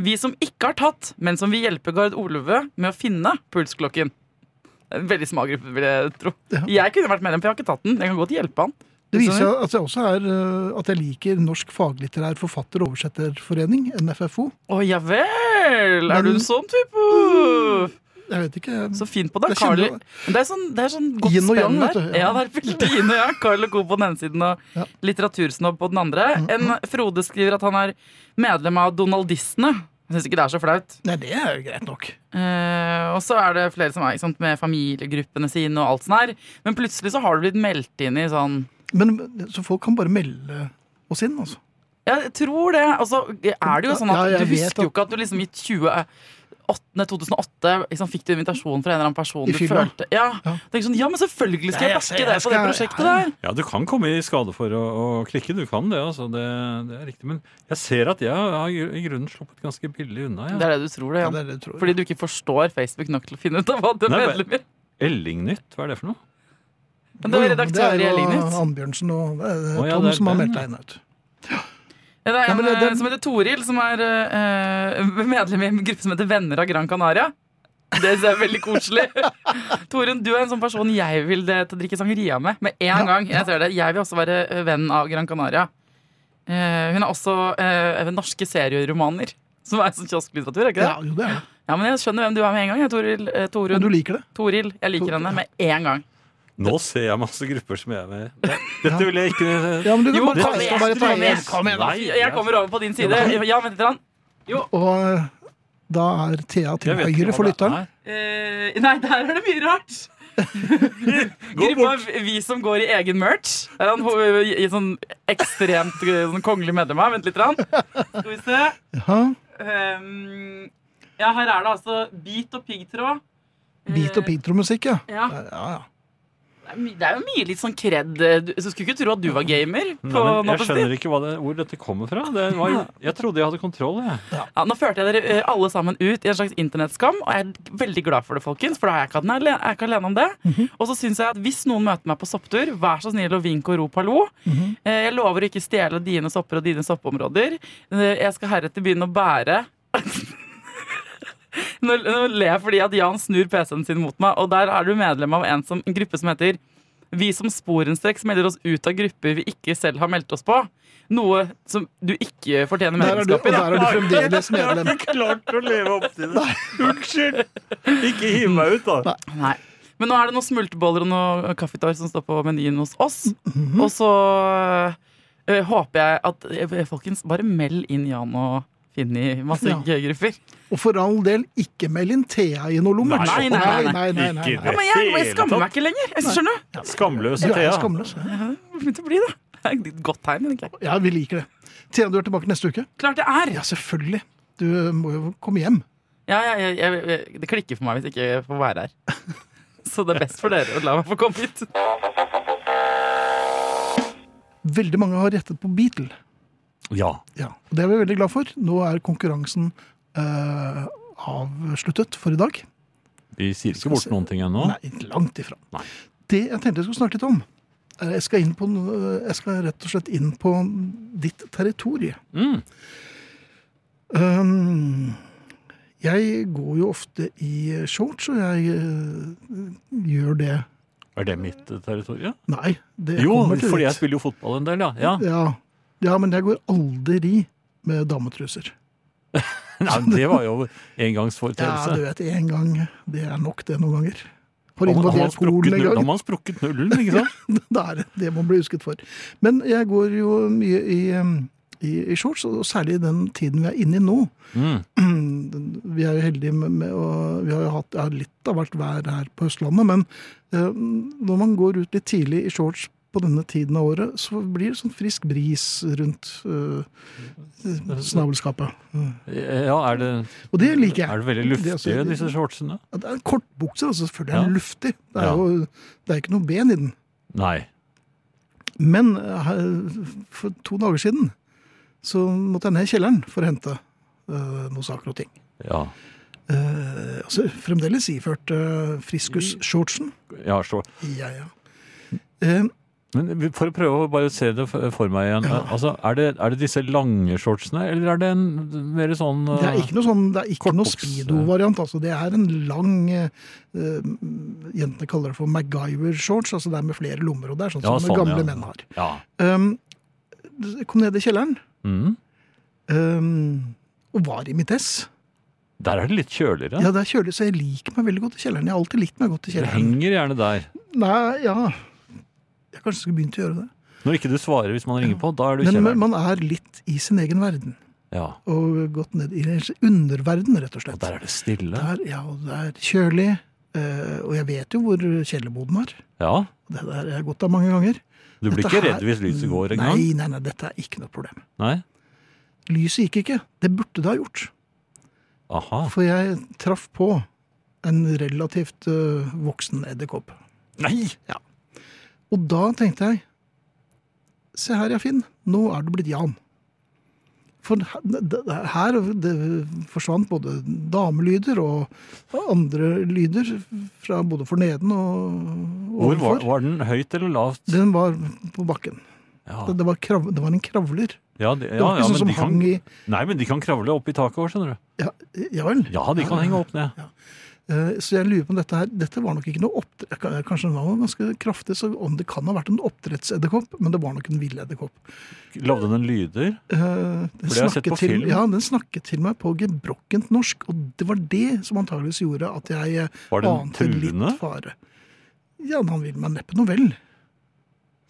Speaker 4: Vi som ikke har tatt, men som vil hjelpe Gard Olve med å finne pulsklokken. En veldig smal gruppe, vil jeg tro. Jeg kunne vært medlem, for jeg har ikke tatt den. Jeg kan godt hjelpe han.
Speaker 2: Det viser jo at jeg også er eh, at jeg liker Norsk faglitterær forfatter- og oversetterforening, NFFO.
Speaker 4: Å ja vel! Er du
Speaker 2: Men- Mm.
Speaker 4: en sånn type?
Speaker 2: Jeg vet ikke.
Speaker 4: Så fint på deg,
Speaker 2: Jeg
Speaker 4: Carl.
Speaker 2: kjenner jo-
Speaker 4: Men Det er sånn, det er sånn godt
Speaker 2: Yin og yang,
Speaker 4: spenn
Speaker 2: vet
Speaker 4: der.
Speaker 2: du,
Speaker 4: Ja.
Speaker 2: ja.
Speaker 4: det er veldig yin og yang. Carl og Co på den ene siden og
Speaker 2: Ja. Mm,
Speaker 4: litteratursnobb på den andre. En Frode skriver at han er medlem av Donaldistene. Jeg syns ikke det er så flaut.
Speaker 2: Nei, det er jo greit nok.
Speaker 4: Eh, og så er det flere som er ikke sant, med familiegruppene sine og alt sånt her. Men plutselig så har du blitt meldt inn i sånn
Speaker 2: Men Så folk kan bare melde oss inn, altså.
Speaker 4: Ja, Jeg tror det. Og så er det jo sånn at
Speaker 2: Ja, jeg
Speaker 4: du
Speaker 2: vet
Speaker 4: husker jo
Speaker 2: at-
Speaker 4: ikke at du liksom i 20... 8. 2008 liksom, fikk du invitasjon fra en eller annen person
Speaker 2: I
Speaker 4: du
Speaker 2: fylla.
Speaker 4: følte Ja,
Speaker 2: Ja.
Speaker 4: Tenk sånn, ja men selvfølgelig skal
Speaker 2: Ja, jeg
Speaker 4: jeg backe
Speaker 2: ser- jeg
Speaker 4: deg på det
Speaker 2: skal- ja,
Speaker 4: prosjektet
Speaker 2: ja.
Speaker 4: der!
Speaker 3: Ja, du kan komme i skade for å, å klikke. Du kan det, altså. Det, det er riktig. Men jeg ser at jeg har i grunnen sluppet ganske billig unna.
Speaker 4: Det
Speaker 3: Jeg.
Speaker 4: er det du tror, det.
Speaker 2: Ja,
Speaker 4: Jan.
Speaker 2: det, det tror jeg.
Speaker 4: Fordi du ikke forstår Facebook nok til å finne ut av hva du er
Speaker 3: Nei, men-
Speaker 4: medlem i.
Speaker 3: Ellingnytt, hva er det for noe?
Speaker 4: Men det var
Speaker 2: Jo, jo,
Speaker 4: redaktør i
Speaker 2: det er jo
Speaker 4: Ellinit.
Speaker 2: Annbjørnsen og det er
Speaker 3: Å, ja,
Speaker 2: Tom
Speaker 3: det er
Speaker 2: som har
Speaker 3: den,
Speaker 2: meldt
Speaker 3: ja.
Speaker 2: deg inn. vet du.
Speaker 4: Ja, Det er
Speaker 2: Ja,
Speaker 4: en
Speaker 2: men det- det-
Speaker 4: eh, som heter Toril, som er eh, medlem i en gruppe som heter Venner av Gran Canaria. Det synes jeg er veldig koselig. Torunn, du er en sånn person jeg vil eh, til å drikke sangria med med en gang. Jeg ser det. Jeg vil også være eh, venn av Gran Canaria. Eh, hun er også eh, norske serieromaner, som er sånn kiosklitteratur. er ikke
Speaker 2: Ja,
Speaker 4: det?
Speaker 2: jo, det er det.
Speaker 4: Ja, men jeg skjønner hvem du er med en gang. Jeg, Toril, eh, Torunn.
Speaker 2: Og du liker det?
Speaker 4: Toril, jeg liker henne med en gang.
Speaker 3: Nå ser jeg masse grupper som jeg er med i. Dette vil jeg ikke
Speaker 2: Ja, men du kan
Speaker 4: Jo,
Speaker 2: bare
Speaker 4: kom
Speaker 2: ta,
Speaker 4: igjen,
Speaker 2: bare ta
Speaker 4: kom igjen,
Speaker 3: kom igjen, da.
Speaker 2: Nei.
Speaker 4: Jeg kommer over på din side. Ja, vent litt. grann.
Speaker 2: Og eh, da er Thea
Speaker 3: Jeg
Speaker 2: til
Speaker 3: vet ikke
Speaker 2: høyre
Speaker 3: hva
Speaker 2: for
Speaker 3: det
Speaker 2: lytteren.
Speaker 3: er.
Speaker 4: Eh, nei, der er det mye rart. Gruppa Vi som går i egen merch. Er han ho- i, i sånn ekstremt eh, sånn kongelig medlem her? Vent litt. grann. Skal vi se.
Speaker 2: Ja,
Speaker 4: Ehm, ja, her er det altså bit og piggtråd.
Speaker 2: beat og piggtrådmusikk, ja.
Speaker 4: Ja.
Speaker 2: Ja, ja.
Speaker 4: Det Det er jo mye litt sånn kred. Du du skulle ikke tro at du var gamer. På
Speaker 3: Nei, men jeg
Speaker 4: nattestid.
Speaker 3: skjønner ikke hva det, hvor dette kommer fra. Det var, jeg trodde jeg hadde kontroll. Jeg.
Speaker 4: Ja, nå førte jeg dere eh, alle sammen ut i en slags internettskam, og jeg er veldig glad for det, folkens, for da er jeg ikke, alene, jeg er ikke alene om det.
Speaker 2: Mhm.
Speaker 4: Og så syns jeg at hvis noen møter meg på sopptur, vær så snill og vink og rop hallo.
Speaker 2: Mhm.
Speaker 4: Eh, Jeg lover å ikke stjele dine sopper og dine soppområder. Eh, Jeg skal heretter begynne å bære nå, nå ler jeg fordi at Jan snur PC-en sin mot meg, og der er du medlem av en, som, en gruppe som heter vi som sporenstreks melder oss ut av grupper vi ikke selv har meldt oss på. Noe som du ikke fortjener
Speaker 2: Der er du,
Speaker 4: medlemskap
Speaker 2: og
Speaker 4: i. da.
Speaker 2: der er du fremdeles medlem.
Speaker 3: ikke klart å leve opp til det. Unnskyld! Ikke hiv meg ut, da.
Speaker 4: Nei. Men nå er det noen smulteboller og noen kaffetår som står på menyen hos oss. Og så øh, håper jeg at øh, Folkens, bare meld inn Jan og Finn i masse
Speaker 2: Ja.
Speaker 4: gøy-grupper.
Speaker 2: Og for all del, ikke meld inn Thea i noe lommert.
Speaker 4: Nei, nei, nei, nei.
Speaker 3: Ikke i
Speaker 4: Ja,
Speaker 3: det
Speaker 4: men jeg, jeg
Speaker 3: hele
Speaker 4: skammer
Speaker 3: tatt.
Speaker 4: meg ikke lenger. Jeg skjønner du?
Speaker 3: Skamløse
Speaker 2: Du er
Speaker 3: Thea.
Speaker 2: skamløs. ja.
Speaker 4: Det begynte å bli det. Det er et godt tegn. egentlig.
Speaker 2: Ja, vi liker det. Thea, du er tilbake neste uke?
Speaker 4: Klart det er!
Speaker 2: Ja, selvfølgelig. Du må jo komme hjem.
Speaker 4: Ja, ja, jeg, jeg, jeg, det klikker for meg hvis jeg ikke får være her. Så det er best for dere å la meg få komme hit.
Speaker 2: Veldig mange har rettet på Beatle.
Speaker 3: Ja.
Speaker 2: Ja, og Det er vi veldig glad for. Nå er konkurransen eh, avsluttet for i dag.
Speaker 3: Vi sier ikke bort noen ting ennå.
Speaker 2: Nei, langt ifra.
Speaker 3: Nei.
Speaker 2: Det jeg tenkte jeg skulle snakke litt om eh, jeg skal, inn på, no- jeg skal rett og slett inn på ditt territorie.
Speaker 3: Mm.
Speaker 2: Um, jeg går jo ofte i shorts, og jeg eh, gjør det
Speaker 3: Er det mitt eh, territorium?
Speaker 2: Nei. Det
Speaker 3: Jo,
Speaker 2: kommer til
Speaker 3: fordi jeg
Speaker 2: dit.
Speaker 3: spiller jo fotball en del, ja. ja.
Speaker 2: ja. ja, men jeg går aldri med dametruser.
Speaker 3: Nei, det var jo
Speaker 2: Ja, du
Speaker 3: engangsforeteelse.
Speaker 2: vet, én gang. Det er nok det noen ganger. Har
Speaker 3: Da må da må
Speaker 2: invadert
Speaker 3: man
Speaker 2: Polen
Speaker 3: sprukket
Speaker 2: en
Speaker 3: null- da
Speaker 2: gang.
Speaker 3: må man sprukket nullen, ikke sant?
Speaker 2: Det er det. det man blir husket for. Men jeg går jo mye i, em, i, i shorts, og særlig i den tiden vi er inne i nå.
Speaker 3: Mm.
Speaker 2: Den- Vi er jo heldige med, med å Vi har jo hatt ja, litt av hvert vær her på Østlandet, men em, når man går ut litt tidlig i shorts på denne tiden av året, så blir det sånn frisk bris rundt eh, snabelskapet.
Speaker 3: Eh, Ja, er det,
Speaker 2: Og det liker jeg.
Speaker 3: er det veldig
Speaker 2: Det er
Speaker 3: luftige,
Speaker 2: altså-
Speaker 3: disse shortsene?
Speaker 2: Ja, Det er en kortbukse, altså. Selvfølgelig er
Speaker 3: Ja.
Speaker 2: den luftig. Det er
Speaker 3: Ja.
Speaker 2: jo det er ikke noe ben i den.
Speaker 3: Nei.
Speaker 2: Men eh, her- for to dager siden så måtte jeg ned i kjelleren for å hente eh, noen saker og ting.
Speaker 3: Ja.
Speaker 2: Eh, altså, fremdeles iført eh, friskus-shortsen.
Speaker 3: ja så.
Speaker 2: Ja, ja. Eh,
Speaker 3: Men vi- for å prøve å bare se det for for meg igjen. Altså, er, det, er det disse lange shortsene, eller er det en mer sånn
Speaker 2: det er ikke noe sånn, det er ikke noe
Speaker 3: Kortbukse.
Speaker 2: speedo-variant. altså. Det er en lang eh, eh, Jentene kaller det for MacGyver-shorts. altså Det er med flere lommer, og det er sånn
Speaker 3: Ja,
Speaker 2: som
Speaker 3: sånn,
Speaker 2: gamle
Speaker 3: ja.
Speaker 2: menn har.
Speaker 3: Ja.
Speaker 2: Um, jeg kom ned i kjelleren
Speaker 3: Mm.
Speaker 2: um, og var i mitt ess.
Speaker 3: Der er det litt kjøligere.
Speaker 2: Ja, det er kjølig, så jeg liker meg veldig godt i kjelleren. Jeg har alltid likt meg godt i
Speaker 3: det
Speaker 2: kjelleren.
Speaker 3: henger gjerne der.
Speaker 2: Nei, ja Jeg kanskje skulle begynt å gjøre det.
Speaker 3: Når ikke du svarer hvis man ringer på, da er du i
Speaker 2: Men men
Speaker 3: kjelleren.
Speaker 2: man er litt i sin egen verden.
Speaker 3: Ja.
Speaker 2: Og gått ned i underverden, rett og
Speaker 3: Og
Speaker 2: slett.
Speaker 3: der er det stille.
Speaker 2: Der, ja, og det er kjølig. eh, Og jeg vet jo hvor kjellerboden er.
Speaker 3: Ja.
Speaker 2: Og Det der har jeg gått av mange ganger.
Speaker 3: Du blir
Speaker 2: Dette
Speaker 3: ikke
Speaker 2: her-
Speaker 3: redd hvis lyset går engang?
Speaker 2: Nei, nei, nei, dette er ikke noe problem.
Speaker 3: Nei.
Speaker 2: Lyset gikk ikke. Det burde det ha gjort.
Speaker 3: Aha.
Speaker 2: For jeg traff på en relativt øh, voksen edderkopp.
Speaker 3: Nei!
Speaker 2: Og da tenkte jeg Se her, ja, Finn. Nå er du blitt Jan. For her- det- det- her det forsvant både damelyder og andre lyder fra både forneden og
Speaker 3: Hvor var,
Speaker 2: overfor.
Speaker 3: var den? Høyt eller lavt?
Speaker 2: Den var på bakken.
Speaker 3: Ja,
Speaker 2: Det, det, var, krav, det var en kravler.
Speaker 3: ja, det,
Speaker 2: Det
Speaker 3: ja,
Speaker 2: var ikke
Speaker 3: ja
Speaker 2: sånn
Speaker 3: men
Speaker 2: som
Speaker 3: de kan,
Speaker 2: hang i
Speaker 3: nei, men de kan kravle opp i taket òg, skjønner du.
Speaker 2: Ja, ja vel.
Speaker 3: Ja, de kan henge opp ned.
Speaker 2: Eh, Så jeg lurer på om dette her Dette var nok ikke noe oppdrett Kanskje den var ganske kraftig, så om det kan ha vært en oppdrettsedderkopp, men det var nok en villedderkopp.
Speaker 3: Lagde den lyder?
Speaker 2: Eh, Den
Speaker 3: For det har jeg sett
Speaker 2: snakket
Speaker 3: på
Speaker 2: til,
Speaker 3: film.
Speaker 2: Ja, den snakket til meg på gebrokkent norsk, og det var det som antageligvis gjorde at jeg eh,
Speaker 3: Var den
Speaker 2: ante
Speaker 3: truende?
Speaker 2: litt fare. Ja, men han ville meg neppe noe vel.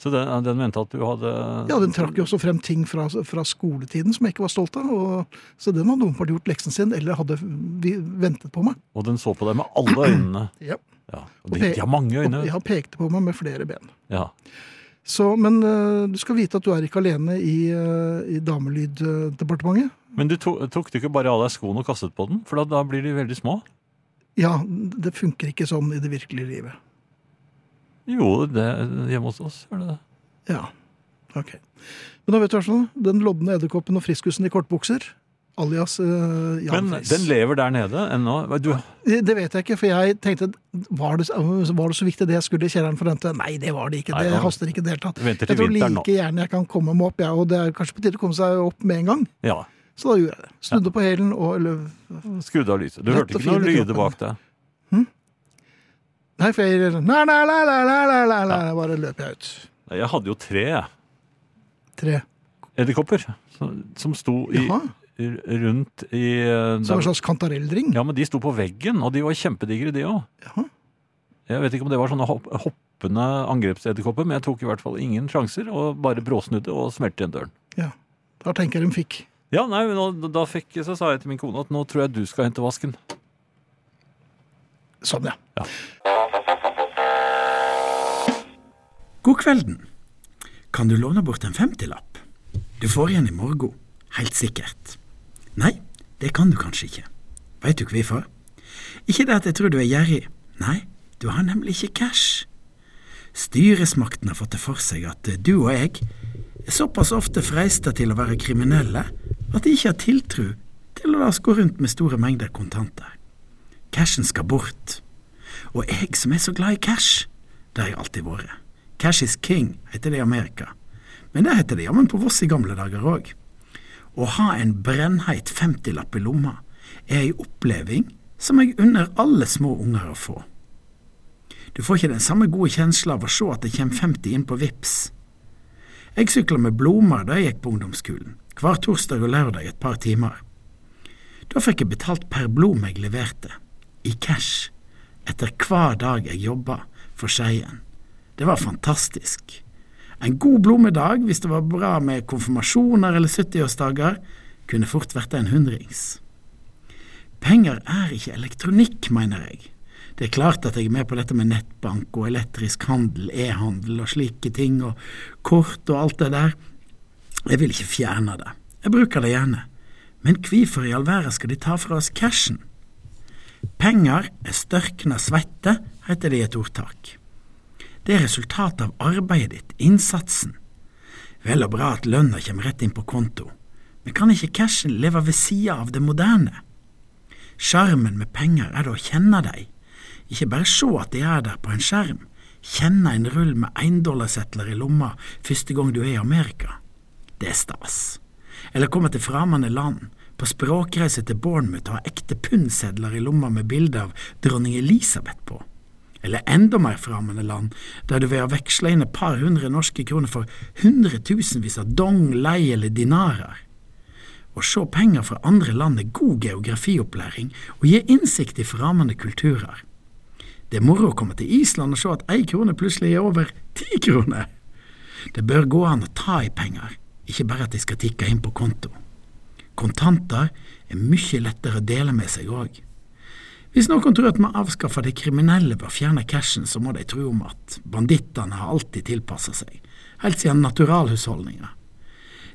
Speaker 3: Så den, den mente at du hadde
Speaker 2: Ja, den trakk jo også frem ting fra, fra skoletiden som jeg ikke var stolt av, og, så den hadde åpenbart gjort leksen sin, eller hadde vi ventet på meg.
Speaker 3: Og den så på deg med alle øynene.
Speaker 2: Ja.
Speaker 3: Ja, og
Speaker 2: Og
Speaker 3: de,
Speaker 2: pe-
Speaker 3: de har mange
Speaker 2: Og
Speaker 3: øyne.
Speaker 2: jeg har pekte på meg med flere ben.
Speaker 3: Ja.
Speaker 2: Så, men eh, du skal vite at du er ikke alene i, eh, i damelyddepartementet.
Speaker 3: Men du to, tok du ikke bare av deg skoene og kastet på den? For da, da blir de veldig små.
Speaker 2: Ja, det funker ikke sånn i det virkelige livet.
Speaker 3: Jo, det, hjemme hos oss gjør det det.
Speaker 2: Ja, ok. Men da vet du hva sånn, den lodne edderkoppen og friskusen i kortbukser, alias eh, Jan
Speaker 3: Men
Speaker 2: Friis.
Speaker 3: den lever der nede ennå. Du,
Speaker 2: Det det vet jeg ikke, for jeg tenkte, var det, øh, var det så viktig det jeg skulle i kjelleren for rente? Nei, det var det ikke,
Speaker 3: Nei,
Speaker 2: det
Speaker 3: da-
Speaker 2: haster ikke i det hele tatt.
Speaker 3: Du venter til
Speaker 2: Jeg tror
Speaker 3: vinteren nå.
Speaker 2: like gjerne jeg kan komme meg opp, jeg, og det er kanskje på tide å komme seg opp med en gang.
Speaker 3: ja,
Speaker 2: Så da gjorde jeg det. Snudde på hælen og eller,
Speaker 3: skrudd av lyset. Du
Speaker 2: Lett
Speaker 3: hørte
Speaker 2: og
Speaker 3: ikke
Speaker 2: fin
Speaker 3: noe
Speaker 2: i kroppen.
Speaker 3: lyder bak deg.
Speaker 2: Nei, for jeg nei, nei, nei, nei, nei, nei, nei, nei, bare løper jeg ut.
Speaker 3: Nei, Jeg hadde jo tre
Speaker 2: Tre.
Speaker 3: edderkopper som, som sto i,
Speaker 2: Jaha,
Speaker 3: r- rundt i eh,
Speaker 2: som en
Speaker 3: der-
Speaker 2: slags kantarelldring.
Speaker 3: Ja, men de sto på veggen, og de var kjempedigre, de òg.
Speaker 2: Jaha.
Speaker 3: Jeg vet ikke om det var sånne hopp, hoppende angrepsedderkopper, men jeg tok i hvert fall ingen sjanser og bare bråsnudde og smelte igjen døren.
Speaker 2: Da tenker jeg de fikk.
Speaker 3: Ja, nei, men nå, da fikk, så sa jeg til min kone at nå tror jeg du skal hente vasken.
Speaker 2: Sånn, ja.
Speaker 5: God kvelden. Kan du låne bort en femtilapp? Du får igjen i morgen, helt sikkert. Nei, det kan du kanskje ikke. Veit du hvorfor? Ikke det at jeg tror du er gjerrig. Nei, du har nemlig ikke cash. Styresmakten har fått det for seg at du og jeg er såpass ofte freista til å være kriminelle at de ikke har tiltro til å la oss gå rundt med store mengder kontanter. Cashen skal bort. Og jeg som er så glad i cash, det har jeg alltid vært. Cash is king, heter det i Amerika. Men det heter det jammen på Voss i gamle dager òg. Å ha en brennheit 50-lapp i lomma er ei oppleving som jeg unner alle små unger å få. Du får ikke den samme gode kjensla av å se at det kommer 50 inn på VIPS. Jeg sykla med blomster da jeg gikk på ungdomsskolen, hver torsdag og lørdag et par timer. Da fikk jeg betalt per blom jeg leverte, i cash, etter hver dag jeg jobba for Skeien. Det var fantastisk. En god blomedag, hvis det var bra med konfirmasjoner eller 70-årsdager, kunne fort vært en hundrings. Penger er ikke elektronikk, mener jeg. Det er klart at jeg er med på dette med nettbank og elektrisk handel, e-handel og slike ting, og kort og alt det der. Jeg vil ikke fjerne det. Jeg bruker det gjerne. Men hvorfor i all verden skal de ta fra oss cashen? Penger er størkna svette, heter det i et ordtak. Det er resultatet av arbeidet ditt, innsatsen. Vel og bra at lønna kommer rett inn på konto, men kan ikke cashen leve ved sida av det moderne? Sjarmen med penger er da å kjenne dem, ikke bare se at de er der på en skjerm, kjenne en rull med éndollarsetler i lomma første gang du er i Amerika. Det er stas. Eller komme til fremmede land, på språkreise til Bournemouth og ha ekte pundsedler i lomma med bilde av dronning Elisabeth på. Eller enda mer fremmede land, der du ved å veksle inn et par hundre norske kroner får hundretusenvis av dong, lei eller dinarer. Å se penger fra andre land er god geografiopplæring og gir innsikt i fremmede kulturer. Det er moro å komme til Island og se at ei krone plutselig er over ti kroner. Det bør gå an å ta i penger, ikke bare at de skal tikke inn på konto. Kontanter er mye lettere å dele med seg òg. Hvis noen tror at vi avskaffer de kriminelle ved å fjerne cashen, så må de tro om at bandittene har alltid tilpassa seg, helt siden naturalhusholdninga.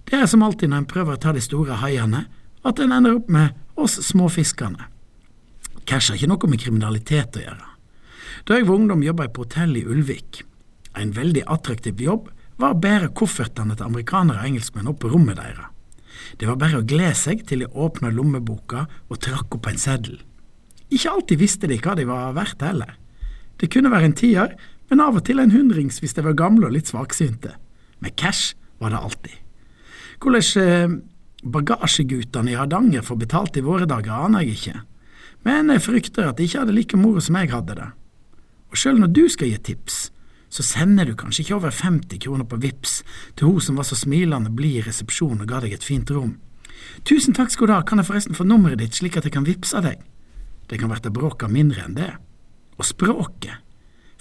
Speaker 5: Det er som alltid når en prøver å ta de store haiene, at en ender opp med oss småfiskerne. Cash har ikke noe med kriminalitet å gjøre. Da jeg var ungdom, jobba jeg på hotell i Ulvik. En veldig attraktiv jobb var å bære koffertene til amerikanere og engelskmenn opp på rommet deres. Det var bare å glede seg til de åpna lommeboka og trakk opp en seddel. Ikke alltid visste de hva de var verdt heller. Det kunne være en tier, men av og til en hundrings hvis de var gamle og litt svaksynte. Men cash var det alltid. Hvordan eh, bagasjegutene i Hardanger får betalt i våre dager, aner jeg ikke. Men jeg frykter at de ikke hadde like moro som jeg hadde det. Og selv når du skal gi tips, så sender du kanskje ikke over 50 kroner på VIPS til hun som var så smilende blid i resepsjonen og ga deg et fint rom. Tusen takk skal du ha, kan jeg forresten få nummeret ditt slik at jeg kan vippse deg? Det kan verte bråka mindre enn det. Og språket.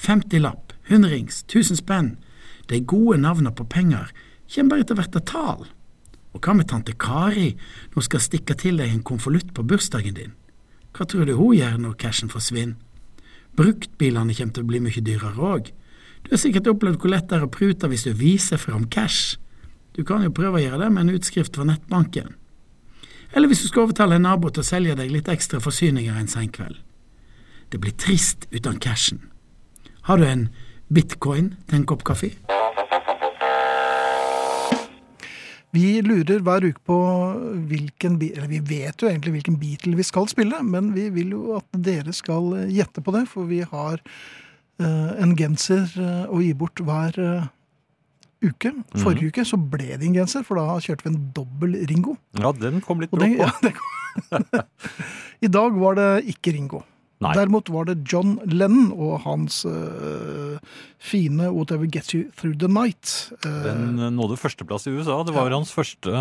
Speaker 5: 50-lapp, hundrings, 1000 spenn. De gode navna på penger kommer bare til å verte tal. Og hva med tante Kari når hun skal stikke til deg en konvolutt på bursdagen din? Hva tror du hun gjør når cashen forsvinner? Bruktbilene kommer til å bli mye dyrere òg. Du har sikkert opplevd hvor lett det er å prute hvis du viser fram cash. Du kan jo prøve å gjøre det med en utskrift fra nettbanken. Eller hvis du skal overtale en nabo til å selge deg litt ekstra forsyninger en sen kveld. Det blir trist uten cashen. Har du en Bitcoin til en kopp kaffe?
Speaker 2: Vi lurer hver uke på hvilken bi- Eller vi vet jo egentlig hvilken Beatle vi skal spille, men vi vil jo at dere skal eh, gjette på det, for vi har eh, en genser eh, å gi bort hver eh, uke.
Speaker 3: Mhm.
Speaker 2: Forrige uke så ble det en genser, for da kjørte vi en dobbel Ringo.
Speaker 3: Ja, den kom litt
Speaker 2: Og
Speaker 3: brått
Speaker 2: den,
Speaker 3: på.
Speaker 2: ja, den, I dag var det ikke Ringo.
Speaker 3: Nei.
Speaker 2: Derimot var det John Lennon og hans eh, fine 'Whatever Gets You Through The Night'. eh,
Speaker 3: Den eh, nådde førsteplass i USA. Det var jo hans første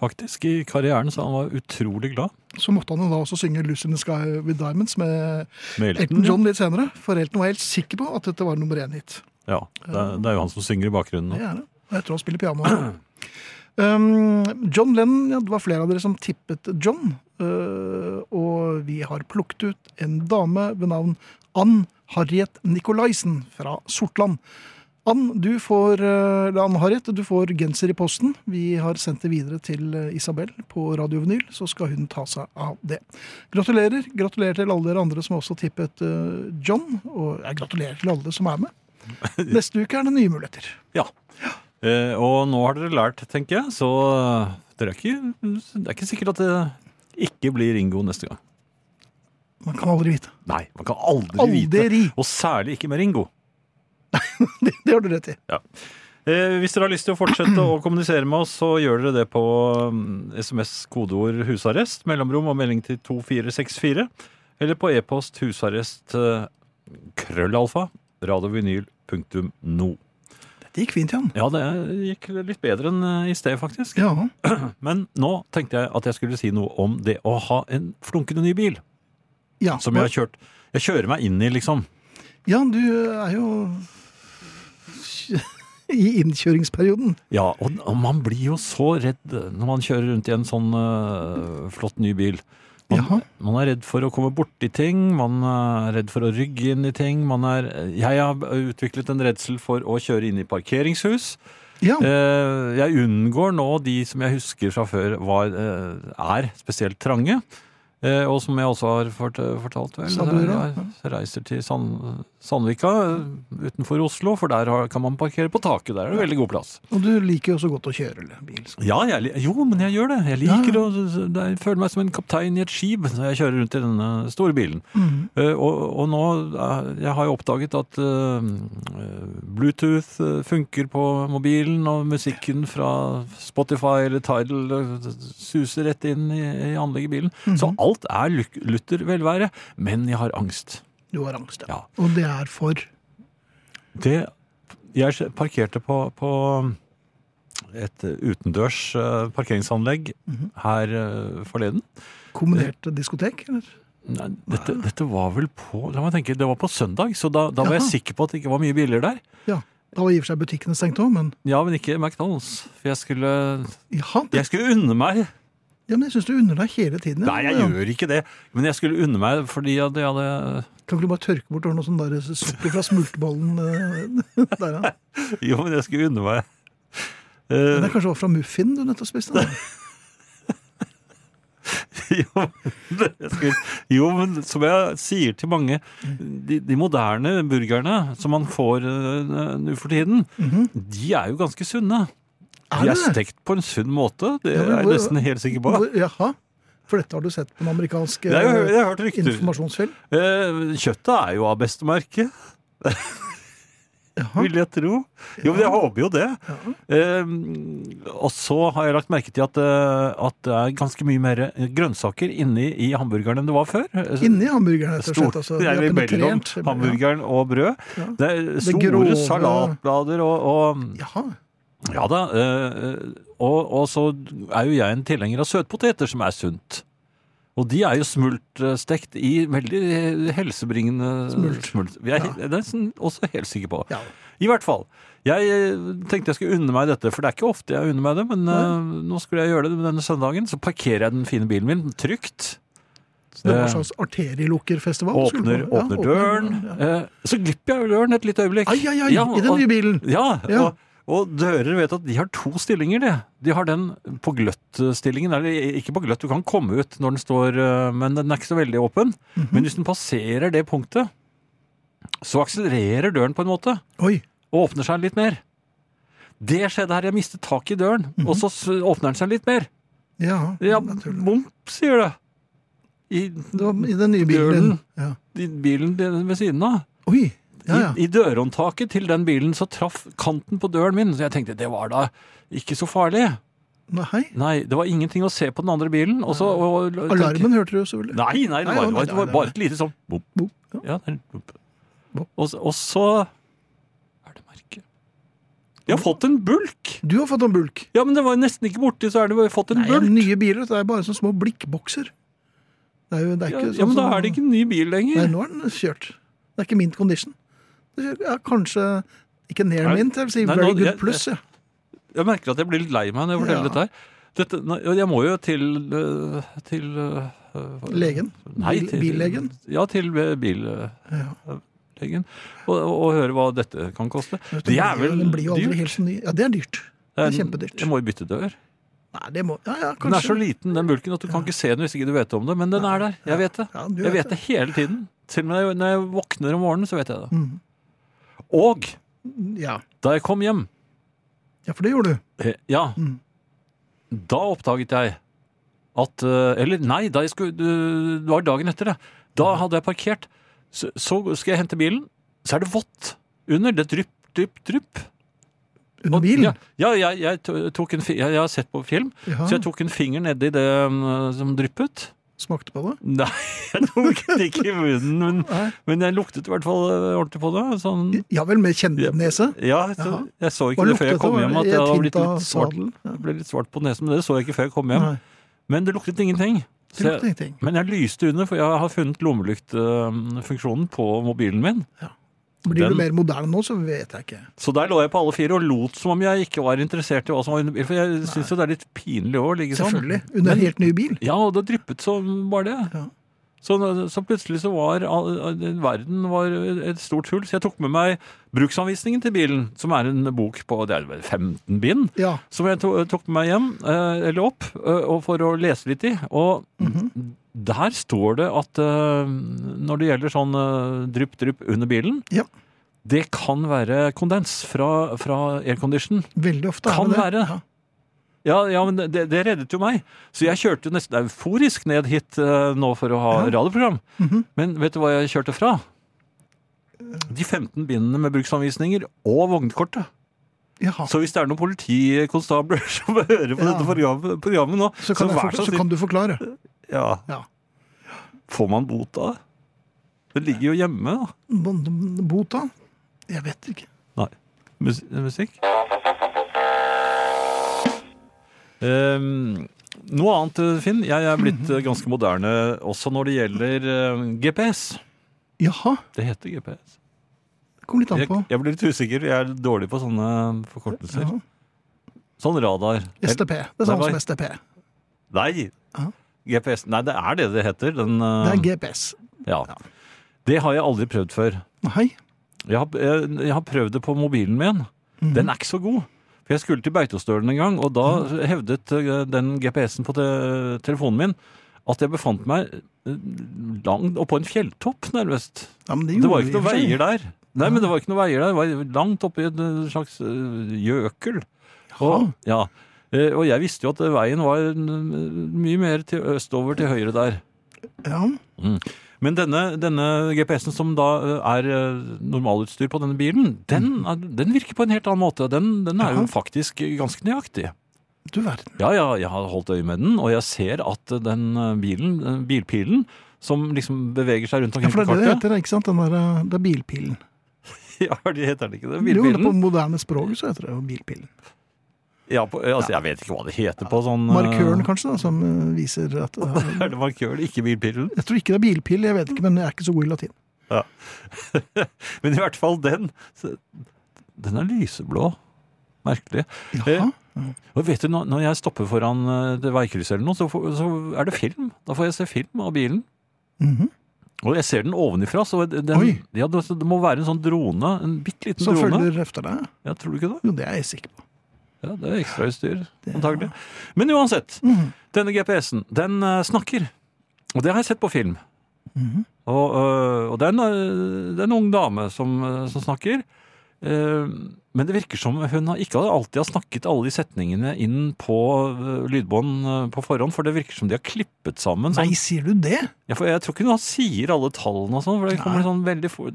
Speaker 3: faktisk i karrieren, så han var utrolig glad.
Speaker 2: Så måtte han jo da også synge 'Lucy in the Sky with Diamonds' med
Speaker 3: Med
Speaker 2: Elton
Speaker 3: Elton.
Speaker 2: John litt senere. For Elton var helt sikker på at dette var nummer én-hit.
Speaker 3: Ja, det, er- det er jo han som synger i bakgrunnen
Speaker 2: Det
Speaker 3: nå.
Speaker 2: er det. Og jeg tror han spiller piano. Um, John Lennon, ja, det var flere av dere som tippet John. Uh, og vi har plukket ut en dame ved navn Ann Harriet Nikolaisen fra Sortland. Ann, du får, uh, eller Ann Harriet, du får genser i posten. Vi har sendt det videre til uh, Isabel på Radio Vinyl, så skal hun ta seg av det. Gratulerer. Gratulerer til alle dere andre som også tippet uh, John. Og jeg gratulerer til alle som er med. Neste uke er det nye muligheter.
Speaker 3: Ja. Eh, og nå har dere lært, tenker jeg, så eh, dere er ikke, det er ikke sikkert at det ikke blir Ringo neste gang.
Speaker 2: Man kan aldri vite.
Speaker 3: Nei, man kan aldri, vite.
Speaker 2: Aldri!
Speaker 3: Og særlig ikke med Ringo.
Speaker 2: Det, det har du rett i.
Speaker 3: Eh, hvis dere har lyst til å fortsette å kommunisere med oss, så gjør dere det på mm, SMS kodeord 'husarrest', mellomrom og melding til 2464, eller på e-post husarrest eh, krøllalfa radiovinyl.no.
Speaker 2: Dette gikk fint, Jan.
Speaker 3: Ja, det gikk litt bedre enn eh, i sted, faktisk.
Speaker 2: Ja.
Speaker 3: Men nå tenkte jeg at jeg skulle si noe om det å ha en flunkende ny bil,
Speaker 2: Ja.
Speaker 3: som jeg har kjørt. Jeg kjører meg inn i, liksom.
Speaker 2: ja, du eh, er jo i innkjøringsperioden.
Speaker 3: Ja, og, og man blir jo så redd når man kjører rundt i en sånn øh, flott ny bil. Man,
Speaker 2: Jaha.
Speaker 3: man er redd for å komme borti ting, man eh, er redd for å rygge inn i ting. Man er, eh, jeg har utviklet en redsel for å kjøre inn i parkeringshus.
Speaker 2: Ja.
Speaker 3: Eh, jeg unngår nå de som jeg husker fra før var, eh, er spesielt trange. Eh, og som jeg også har fort, fortalt, vel,
Speaker 2: Sa du det,
Speaker 3: jeg reiser til Sand, Sandvika eh, utenfor Oslo, for der har, kan man parkere på taket. Der er det veldig god plass.
Speaker 2: Og du liker jo så godt å kjøre eller, bil. så-
Speaker 3: Ja, jeg, li- jo, men jeg gjør det. Jeg liker å jeg føler meg som en kaptein i et skip når jeg kjører rundt i denne store bilen. Eh, og, og nå eh, jeg har jeg oppdaget at eh, eh, Bluetooth eh, funker på mobilen, og musikken fra Spotify eller Tidal eh, suser rett inn i, i anlegget i bilen. Så alt er luk- lutter velvære, men jeg har angst.
Speaker 2: Du har angst, ja.
Speaker 3: Ja.
Speaker 2: Og det er for
Speaker 3: Det, jeg parkerte på, på et utendørs eh, parkeringsanlegg
Speaker 2: Mhm.
Speaker 3: her eh, forleden.
Speaker 2: kombinert diskotek, eller?
Speaker 3: Nei, dette, dette var vel på La meg tenke, det var på søndag, så da, da var jeg
Speaker 2: Jaha.
Speaker 3: sikker på at det ikke var mye biler der.
Speaker 2: Ja. Da var i og for seg butikkene stengt òg, men
Speaker 3: Ja, men ikke McDonald's. For jeg skulle,
Speaker 2: ja, det,
Speaker 3: jeg skulle unne meg
Speaker 2: ja, men jeg syns du unner deg hele tiden. ja.
Speaker 3: Nei, jeg
Speaker 2: Ja.
Speaker 3: gjør ikke det. Men jeg skulle unne meg fordi at jeg hadde
Speaker 2: Kan ikke du bare tørke bort og ha noe sånn der sukker fra smultbollen eh, der, ja.
Speaker 3: Jo, men jeg skulle unne meg
Speaker 2: Men
Speaker 3: Eh,
Speaker 2: det kanskje var fra muffin du nettopp spiste? da.
Speaker 3: jo, men jeg skulle, jo, men som jeg sier til mange, de, de moderne burgerne som man får eh, nå for tiden, de er jo ganske sunne.
Speaker 2: Mhm. Er
Speaker 3: de er
Speaker 2: det det?
Speaker 3: stekt på en sunn måte, det
Speaker 2: Ja, men
Speaker 3: er jeg
Speaker 2: hvor-
Speaker 3: nesten helt sikker på.
Speaker 2: Hvor- Jaha. For dette har du sett på den amerikanske
Speaker 3: Jeg har, hørt- jeg har hørt
Speaker 2: eh,
Speaker 3: rykter.
Speaker 2: informasjonsfilm?
Speaker 3: Eh, Kjøttet er jo av beste merke,
Speaker 2: Jaha.
Speaker 3: vil jeg tro. Jo, men jeg håper jo det. Eh, og så har jeg lagt merke til at, eh, at det er ganske mye mer grønnsaker inni i hamburgeren enn det var før.
Speaker 2: Inni hamburgeren, rett og slett.
Speaker 3: Stort,
Speaker 2: Altså,
Speaker 3: det
Speaker 2: De
Speaker 3: er
Speaker 2: har
Speaker 3: mellom
Speaker 2: penetrert-
Speaker 3: hamburgeren og brød.
Speaker 2: Ja.
Speaker 3: Det er store
Speaker 2: grove-
Speaker 3: salatblader og, og
Speaker 2: Ja. Jaha.
Speaker 3: Ja da. eh, og, og så er jo jeg en tilhenger av søtpoteter, som er sunt. Og de er jo smultstekt i veldig helsebringende
Speaker 2: Smult.
Speaker 3: Jeg er
Speaker 2: Ja.
Speaker 3: he- nesten også helt sikker på.
Speaker 2: Ja.
Speaker 3: I hvert fall. Jeg eh, tenkte jeg skulle unne meg dette, for det er ikke ofte jeg unner meg det. Men eh, nå skulle jeg gjøre det denne søndagen, så parkerer jeg den fine bilen min trygt.
Speaker 2: Så det var en
Speaker 3: Eh,
Speaker 2: slags arterielukkerfestival? du skulle
Speaker 3: Åpner,
Speaker 2: på. Ja,
Speaker 3: åpner døren.
Speaker 2: ja.
Speaker 3: eh, Så glipper jeg jo døren et lite øyeblikk.
Speaker 2: Ai, ai, ai,
Speaker 3: Ja,
Speaker 2: i den
Speaker 3: og-
Speaker 2: nye bilen!
Speaker 3: ja,
Speaker 2: Ja.
Speaker 3: Og, og dører vet at de har to stillinger, de. De har den på gløtt-stillingen. Eller ikke på gløtt, du kan komme eh,
Speaker 2: Mhm.
Speaker 3: ut når den står øh, Men den er ikke så veldig åpen. Men hvis den passerer det punktet, så akselererer døren på en måte
Speaker 2: Oi.
Speaker 3: og åpner seg litt mer. Det skjedde her. Jeg mistet tak i døren, og så s- åpner den seg litt mer.
Speaker 2: Ja,
Speaker 3: Ja,
Speaker 2: Mhm. naturlig.
Speaker 3: bom, sier det. I,
Speaker 2: Det var i den nye bilen din.
Speaker 3: Bjørnen.
Speaker 2: Ja.
Speaker 3: i bilen eh, ved siden av.
Speaker 2: Oi. Ja, ja.
Speaker 3: I, I dørhåndtaket til den bilen så traff kanten på døren min, så jeg tenkte det var da ikke så farlig.
Speaker 2: Nei, hei.
Speaker 3: Nei, det var ingenting å se på den andre bilen. Og så, og, og,
Speaker 2: Alarmen hørte du selvfølgelig.
Speaker 3: Nei, nei,
Speaker 2: Nei,
Speaker 3: det var,
Speaker 2: nei,
Speaker 3: det var, det var
Speaker 2: nei,
Speaker 3: bare et lite sånn bop.
Speaker 2: Bo- ja.
Speaker 3: Ja, det er bop.
Speaker 2: Bop.
Speaker 3: Og, så- og så er det merke. Jeg har fått en bulk!
Speaker 2: Du har fått en bulk.
Speaker 3: Ja, men det var jo nesten ikke borti, så er det jo fått en
Speaker 2: Nei,
Speaker 3: bulk.
Speaker 2: nye biler vet du, det er bare sånne små blikkbokser. Det er jo det er
Speaker 3: Ja,
Speaker 2: ikke sånn
Speaker 3: ja, men da er det ikke en ny bil lenger.
Speaker 2: Nei, nå er den kjørt. Det er ikke mint condition. Det er- Ja, kanskje ikke near
Speaker 3: Nei,
Speaker 2: mint, jeg vil si
Speaker 3: nei,
Speaker 2: very
Speaker 3: nå-
Speaker 2: good
Speaker 3: jeg-
Speaker 2: pluss. Ja.
Speaker 3: Jeg merker at jeg blir litt lei meg når jeg forteller
Speaker 2: Ja.
Speaker 3: dette her. Dette, nei, jeg må jo til øh, til øh, hva-
Speaker 2: Legen?
Speaker 3: Nei,
Speaker 2: Bil-
Speaker 3: til,
Speaker 2: billegen?
Speaker 3: Ja, til billegen.
Speaker 2: Ja.
Speaker 3: Og, og høre hva dette kan koste.
Speaker 2: Vet du,
Speaker 3: Det er vel
Speaker 2: Den blir jo aldri
Speaker 3: dyrt.
Speaker 2: helt så ny. Ja, det er dyrt. Det er kjempedyrt.
Speaker 3: Jeg må jo bytte dør.
Speaker 2: Nei, det må Ja, ja, kanskje.
Speaker 3: Den er så liten, den bulken, at du kan ikke se den hvis ikke du vet om det. Men den er der. Jeg vet det.
Speaker 2: Ja, du
Speaker 3: Jeg vet det hele tiden. Selv når jeg, når jeg våkner om morgenen, så vet jeg det.
Speaker 2: Mm.
Speaker 3: Og
Speaker 2: Ja.
Speaker 3: da jeg kom hjem,
Speaker 2: ja, for det gjorde du.
Speaker 3: eh, ja,
Speaker 2: Mm.
Speaker 3: da oppdaget jeg at eh, Eller nei, da jeg skulle, du- det var dagen etter det. Da hadde jeg parkert. Så, så skal jeg hente bilen, så er det vått under. Det drypp, drypp, drypp.
Speaker 2: Under
Speaker 3: Og-
Speaker 2: bilen.
Speaker 3: Ja, ja jeg, jeg, to- tok en, fi- jeg, jeg har sett på film,
Speaker 2: Ja,
Speaker 3: så jeg tok en finger nedi det mm, som dryppet.
Speaker 2: Smakte på det.
Speaker 3: Nei, jeg tok den ikke i munnen, men,
Speaker 2: Nei.
Speaker 3: men jeg luktet i hvert fall eh, ordentlig på det. Sånn,
Speaker 2: Ja vel, med kjent nese.
Speaker 3: ja, så,
Speaker 2: Jaha.
Speaker 3: jeg så
Speaker 2: Hva
Speaker 3: ikke det før
Speaker 2: luktet
Speaker 3: jeg kom
Speaker 2: det?
Speaker 3: hjem, at
Speaker 2: Et
Speaker 3: det hadde
Speaker 2: hint
Speaker 3: blitt
Speaker 2: av
Speaker 3: litt svart,
Speaker 2: sadel? Ja.
Speaker 3: det ble litt svart på nesen, men det så jeg ikke før jeg kom hjem.
Speaker 2: Nei,
Speaker 3: Men det luktet ingenting.
Speaker 2: det
Speaker 3: Så
Speaker 2: lukter
Speaker 3: jeg,
Speaker 2: ingenting.
Speaker 3: men jeg lyste under, for jeg har funnet lommelyktfunksjonen på mobilen min.
Speaker 2: Blir du
Speaker 3: Den-
Speaker 2: mer moderne nå, så vet jeg ikke.
Speaker 3: Så der lå jeg på alle fire og lot som om jeg ikke var interessert i hva som var under bilen. For jeg syns jo det er litt pinlig å ligge sånn.
Speaker 2: Selvfølgelig. Under
Speaker 3: Men-
Speaker 2: en helt ny bil.
Speaker 3: Ja, og det dryppet som bare det.
Speaker 2: Ja.
Speaker 3: Så, så plutselig så var all- all- verden var et stort hull. Så jeg tok med meg bruksanvisningen til bilen, som er en bok på det er vel 15 bind,
Speaker 2: Ja.
Speaker 3: som jeg to, tok med meg hjem, eh, eller opp, eh, og for å lese litt i. Og der står det at eh, når det gjelder sånn eh, drypp-drypp under bilen
Speaker 2: Ja.
Speaker 3: Det kan være kondens fra, fra aircondition.
Speaker 2: Veldig ofte
Speaker 3: Kan
Speaker 2: er det det.
Speaker 3: være.
Speaker 2: Ja.
Speaker 3: Ja, ja, men det, det reddet jo meg. Så jeg kjørte jo nesten euforisk ned hit eh, nå for å ha radioprogram. Men vet du hva jeg kjørte fra? De 15 bindene med bruksanvisninger og vognkortet.
Speaker 2: Jaha.
Speaker 3: Så hvis det er noen politikonstabler som hører på
Speaker 2: Ja.
Speaker 3: dette programmet, programmet nå,
Speaker 2: Så kan, jeg
Speaker 3: vær
Speaker 2: forkla-
Speaker 3: så
Speaker 2: så
Speaker 3: snill
Speaker 2: kan du forklare.
Speaker 3: ja.
Speaker 2: Ja.
Speaker 3: Får man bot av det? Det ligger jo hjemme, da.
Speaker 2: Bon- Bota? Jeg vet ikke.
Speaker 3: Nei. Mus musikk? Ehm, noe annet, eh, Finn. Jeg er blitt
Speaker 2: Mhm.
Speaker 3: eh, ganske moderne også når det gjelder eh, GPS.
Speaker 2: Jaha.
Speaker 3: Det heter GPS.
Speaker 2: Det kom litt an
Speaker 3: Jeg,
Speaker 2: på.
Speaker 3: jeg blir litt usikker. Jeg er dårlig på sånne forkortelser.
Speaker 2: Ja.
Speaker 3: Sånn radar.
Speaker 2: STP. Det er
Speaker 3: Nei,
Speaker 2: samme
Speaker 3: nei.
Speaker 2: som STP.
Speaker 3: Nei!
Speaker 2: Ja.
Speaker 3: GPS. Nei, det er det det heter. Den,
Speaker 2: Det
Speaker 3: eh,
Speaker 2: er GPS.
Speaker 3: ja. det har jeg aldri prøvd før.
Speaker 2: Nei.
Speaker 3: Jeg har, jeg, jeg har prøvd det på mobilen min.
Speaker 2: Mhm.
Speaker 3: Den er ikke så god. For Jeg skulle til Beitostølen en gang, og da
Speaker 2: Mhm.
Speaker 3: hevdet eh, den GPS-en på te telefonen min at jeg befant meg eh, langt oppå en fjelltopp, nærmest.
Speaker 2: Ja, men
Speaker 3: Det var ikke
Speaker 2: gjorde
Speaker 3: noen
Speaker 2: vi i
Speaker 3: veier
Speaker 2: og for seg.
Speaker 3: der. Nei, men det var ikke noen veier der. Det var langt oppi en eh, slags eh, gjøkel. Og, ja. Eh, og jeg visste jo at eh, veien var eh, mye mer til østover til høyre der.
Speaker 2: Ja.
Speaker 3: Men denne, denne GPS-en som da eh, er eh, normalutstyr på denne bilen, den, er- den virker på en helt annen måte. Den, den er jo
Speaker 2: Mm. Jaha.
Speaker 3: faktisk ganske nøyaktig.
Speaker 2: Du verden.
Speaker 3: Ja, ja, jeg har holdt øye med den, og jeg ser at eh, den eh, bilen, eh, bilpilen, som liksom beveger seg rundt
Speaker 2: Ja,
Speaker 3: omkring
Speaker 2: for det er
Speaker 3: på
Speaker 2: det det
Speaker 3: kartet
Speaker 2: heter, ikke sant? Den der, eh, det er bilpilen.
Speaker 3: Ja, det heter den ikke det?
Speaker 2: Jo, det er på
Speaker 3: Bilpilen?
Speaker 2: moderne språk så heter det jo bilpilen.
Speaker 3: Ja, på, altså, jeg vet ikke hva det heter på sånn eh,
Speaker 2: Markøren kanskje, da, som eh, viser at det er-
Speaker 3: Er det markøren, ikke bilpilen?
Speaker 2: Jeg tror ikke det er bilpil, jeg vet ikke, men jeg er ikke så god i latin.
Speaker 3: Men i hvert fall den. så- Den er lyseblå. Merkelig. Eh,
Speaker 2: Jaha.
Speaker 3: Og vet du, når- Når jeg stopper foran eh, det veikryss eller noe, så, får, så er det film. Da får jeg se film av bilen.
Speaker 2: Mhm.
Speaker 3: Og jeg ser den ovenifra, så den,
Speaker 2: Oi.
Speaker 3: ja, det det må være en sånn drone. En bitte liten
Speaker 2: Som
Speaker 3: drone.
Speaker 2: følger efter deg?
Speaker 3: Ja, tror du ikke det?
Speaker 2: Jo, det er jeg sikker på.
Speaker 3: Ja, Det er Mhm. ekstrautstyr, antagelig. Men uansett. Denne GPS-en, den eh, snakker. Og det har jeg sett på film. Og, øh, og det, er en, øh, det er en ung dame som, øh, som snakker. Eh, Men det virker som hun har- ikke alltid har snakket alle de setningene inn på øh, lydbånd øh, på forhånd, for det virker som de har klippet sammen.
Speaker 2: Nei,
Speaker 3: Sånn.
Speaker 2: sier du det?
Speaker 3: Ja, for jeg tror ikke hun sier alle tallene og sånn, for det kommer sånn veldig fort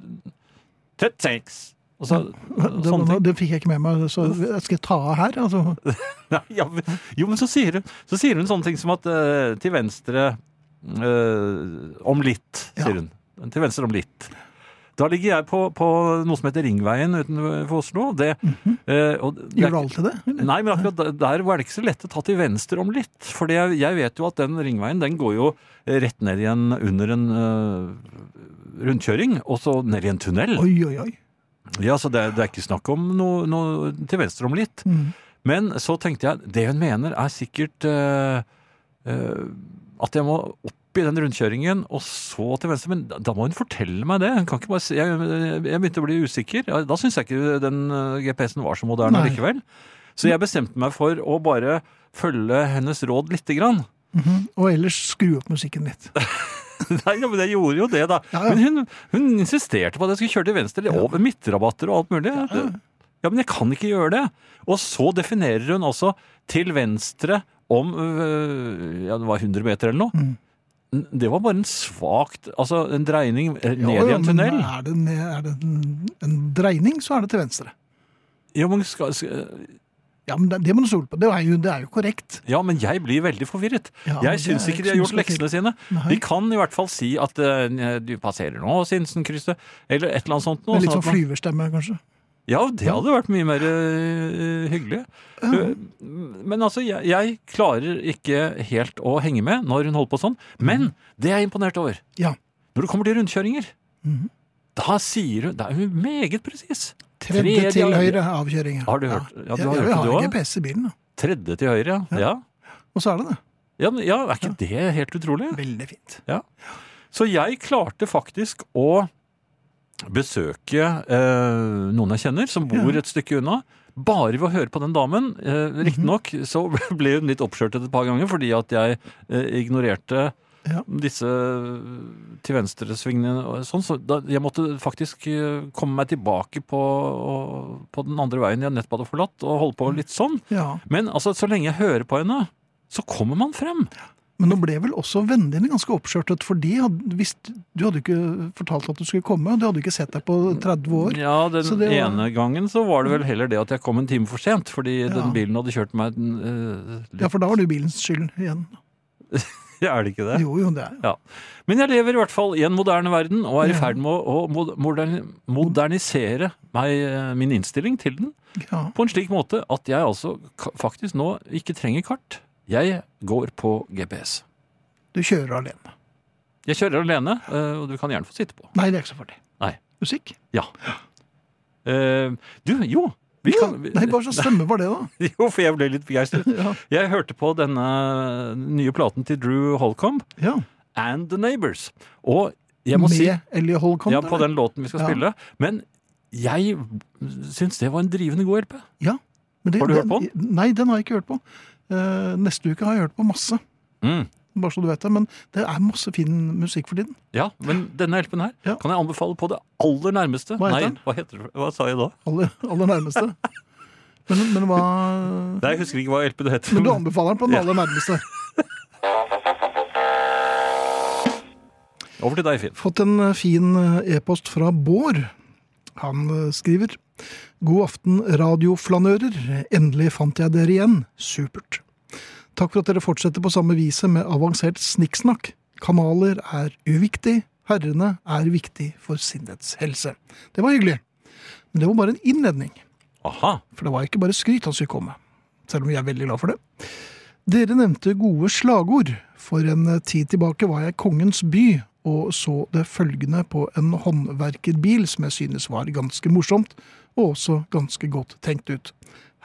Speaker 3: 36! Og så,
Speaker 2: Det,
Speaker 3: sånne ting.
Speaker 2: det fikk jeg ikke med meg, så jeg skal ta av her. Altså.
Speaker 3: Nei, ja, men, jo, men så sier, hun, så sier hun sånne ting som at eh, til venstre eh, om litt,
Speaker 2: Ja.
Speaker 3: sier hun. Til venstre om litt. Da ligger jeg på, på noe som heter Ringveien utenfor Oslo. og Det, eh, og
Speaker 2: Gjør Mhm.
Speaker 3: det er
Speaker 2: du
Speaker 3: ikke-
Speaker 2: alltid det? eller?
Speaker 3: Nei, men akkurat der- der var det ikke så lett å ta til venstre om litt. For jeg, jeg vet jo at den ringveien den går jo rett ned igjen under en eh, rundkjøring, og så ned i en tunnel.
Speaker 2: Oi, oi, oi.
Speaker 3: Ja, så det, er- det er ikke snakk om noe, noe til venstre om litt. Men så tenkte jeg, det hun mener er sikkert eh, eh, at jeg må opp i den rundkjøringen og så til venstre, men da- da må hun fortelle meg det. Hun kan ikke bare si, jeg, jeg begynte å bli usikker. Ja, Da syns jeg ikke den eh, GPS-en var så moderne
Speaker 2: Nei.
Speaker 3: likevel. Så jeg bestemte meg for å bare følge hennes råd lite grann.
Speaker 2: Og ellers skru opp musikken litt.
Speaker 3: Nei, ja, men jeg gjorde jo det, da.
Speaker 2: Ja, ja.
Speaker 3: Men hun, hun insisterte på at jeg skulle kjøre til venstre, over midtrabatter og alt mulig. Ja, men jeg kan ikke gjøre det. Og så definerer hun altså til venstre om øh, ja, det var 100 meter eller
Speaker 2: Mm.
Speaker 3: noe. N- Det var bare en svakt Altså en dreining eh, ned
Speaker 2: Ja,
Speaker 3: i
Speaker 2: ja, men
Speaker 3: en tunnel.
Speaker 2: Er det, en, er det en, en dreining, så er det til venstre.
Speaker 3: Ja men, skal, skal,
Speaker 2: Ja, men det, det må du stole på. Det er jo, det er jo korrekt.
Speaker 3: ja, men jeg blir veldig forvirret.
Speaker 2: Ja, men
Speaker 3: jeg
Speaker 2: det
Speaker 3: syns
Speaker 2: er
Speaker 3: ikke
Speaker 2: ikke
Speaker 3: de har
Speaker 2: så mye
Speaker 3: gjort
Speaker 2: til.
Speaker 3: leksene sine.
Speaker 2: Nei.
Speaker 3: De kan i hvert fall si at eh, du passerer nå, Sinsenkrysset, eller et eller annet sånt. nå,
Speaker 2: Med litt
Speaker 3: sånn
Speaker 2: sånn
Speaker 3: at man-
Speaker 2: flyverstemme, kanskje.
Speaker 3: Ja, det hadde vært mye mer øh, hyggelig. Øh, Men altså, jeg, jeg klarer ikke helt å henge med når hun holder på sånn. Men det jeg er imponert over,
Speaker 2: Ja.
Speaker 3: når det kommer til rundkjøringer Mhm. Da sier hun Da er hun meget presis.
Speaker 2: Tredje
Speaker 3: Tredje
Speaker 2: til
Speaker 3: av-
Speaker 2: høyre avkjøring.
Speaker 3: Har du hørt- ja, du har
Speaker 2: jeg,
Speaker 3: hørt det,
Speaker 2: jeg
Speaker 3: du
Speaker 2: har
Speaker 3: også?
Speaker 2: GPS i bilen, da.
Speaker 3: Tredje til høyre, ja. Ja,
Speaker 2: og så er det det.
Speaker 3: ja, men- ja er ikke det helt utrolig?
Speaker 2: Veldig fint.
Speaker 3: Så jeg klarte faktisk å besøke eh, noen jeg kjenner som bor et stykke unna. Bare ved å høre på den damen. Eh, Riktignok så ble hun litt oppskjørtet et par ganger fordi at jeg eh, ignorerte
Speaker 2: Ja.
Speaker 3: disse eh, til venstre-svingene. og Sånn, så da, jeg måtte faktisk eh, komme meg tilbake på, på den andre veien jeg nettopp hadde forlatt, og holde på litt sånn.
Speaker 2: Ja.
Speaker 3: Men altså, så lenge jeg hører på henne, så kommer man frem.
Speaker 2: Men nå ble vel også vennene dine ganske oppskjørtet, for de hadde, hvis, du hadde jo ikke fortalt at du skulle komme, og de hadde jo ikke sett deg på 30 år.
Speaker 3: Ja, den
Speaker 2: Så det var-
Speaker 3: ene gangen så var det vel heller det at jeg kom en time for sent, fordi den
Speaker 2: Ja.
Speaker 3: bilen hadde kjørt meg den, eh,
Speaker 2: Ja, for da var det jo bilens skyld igjen.
Speaker 3: Er det ikke det?
Speaker 2: Jo, jo, det er
Speaker 3: Ja. Men jeg lever i hvert fall i en moderne verden, og er i
Speaker 2: Ja.
Speaker 3: ferd med å, å mod- moderni- modernisere meg, eh, min innstilling til den
Speaker 2: ja.
Speaker 3: på en slik måte at jeg altså ka- faktisk nå ikke trenger kart. Jeg går på GPS.
Speaker 2: Du kjører alene.
Speaker 3: Jeg kjører alene, eh, og du kan gjerne få sitte på.
Speaker 2: Nei, det er ikke så farlig.
Speaker 3: Nei.
Speaker 2: Musikk?
Speaker 3: Ja. Eh, Du, jo. Vi
Speaker 2: Ja,
Speaker 3: kan, vi-
Speaker 2: Nei, hva slags stemme var det, da?
Speaker 3: Jo, for jeg ble litt begeistret.
Speaker 2: Ja.
Speaker 3: Jeg hørte på denne eh, nye platen til Drew Holcomb,
Speaker 2: Ja.
Speaker 3: And The Neighbors. Og jeg må
Speaker 2: Med
Speaker 3: si
Speaker 2: Ellie Holcomb?
Speaker 3: ja, på
Speaker 2: eller?
Speaker 3: den låten vi skal
Speaker 2: Ja.
Speaker 3: spille. Men jeg syns det var en drivende god LP.
Speaker 2: Ja. Men det-
Speaker 3: Har du hørt på
Speaker 2: Nei, den har jeg ikke hørt på. Eh, neste uke har jeg hørt på masse,
Speaker 3: Mm.
Speaker 2: bare så du vet det. Men det er masse fin musikk for tiden.
Speaker 3: Ja, men denne LP-en her
Speaker 2: Ja.
Speaker 3: kan jeg anbefale på det aller nærmeste.
Speaker 2: Hva heter den?
Speaker 3: Nei, hva heter det? Hva sa jeg da?
Speaker 2: Aller, aller nærmeste. Men, men hva
Speaker 3: Nei, jeg husker ikke hva LP-en heter.
Speaker 2: Men du
Speaker 3: men-
Speaker 2: anbefaler den på den aller nærmeste.
Speaker 3: Over til deg, Finn.
Speaker 2: Fått en eh, fin eh, e-post fra Bård. Han eh, skriver God aften, radioflanører. Endelig fant jeg dere igjen. Supert. Takk for at dere fortsetter på samme viset med avansert snikksnakk. Kanaler er uviktig. Herrene er viktig for sinnets helse. Det var hyggelig. Men det var bare en innledning.
Speaker 3: Aha.
Speaker 2: For det var ikke bare skryt han skulle komme. Selv om jeg er veldig glad for det. Dere nevnte gode slagord. For en eh, tid tilbake var jeg i Kongens by og så det følgende på en håndverkerbil som jeg synes var ganske morsomt, og også ganske godt tenkt ut.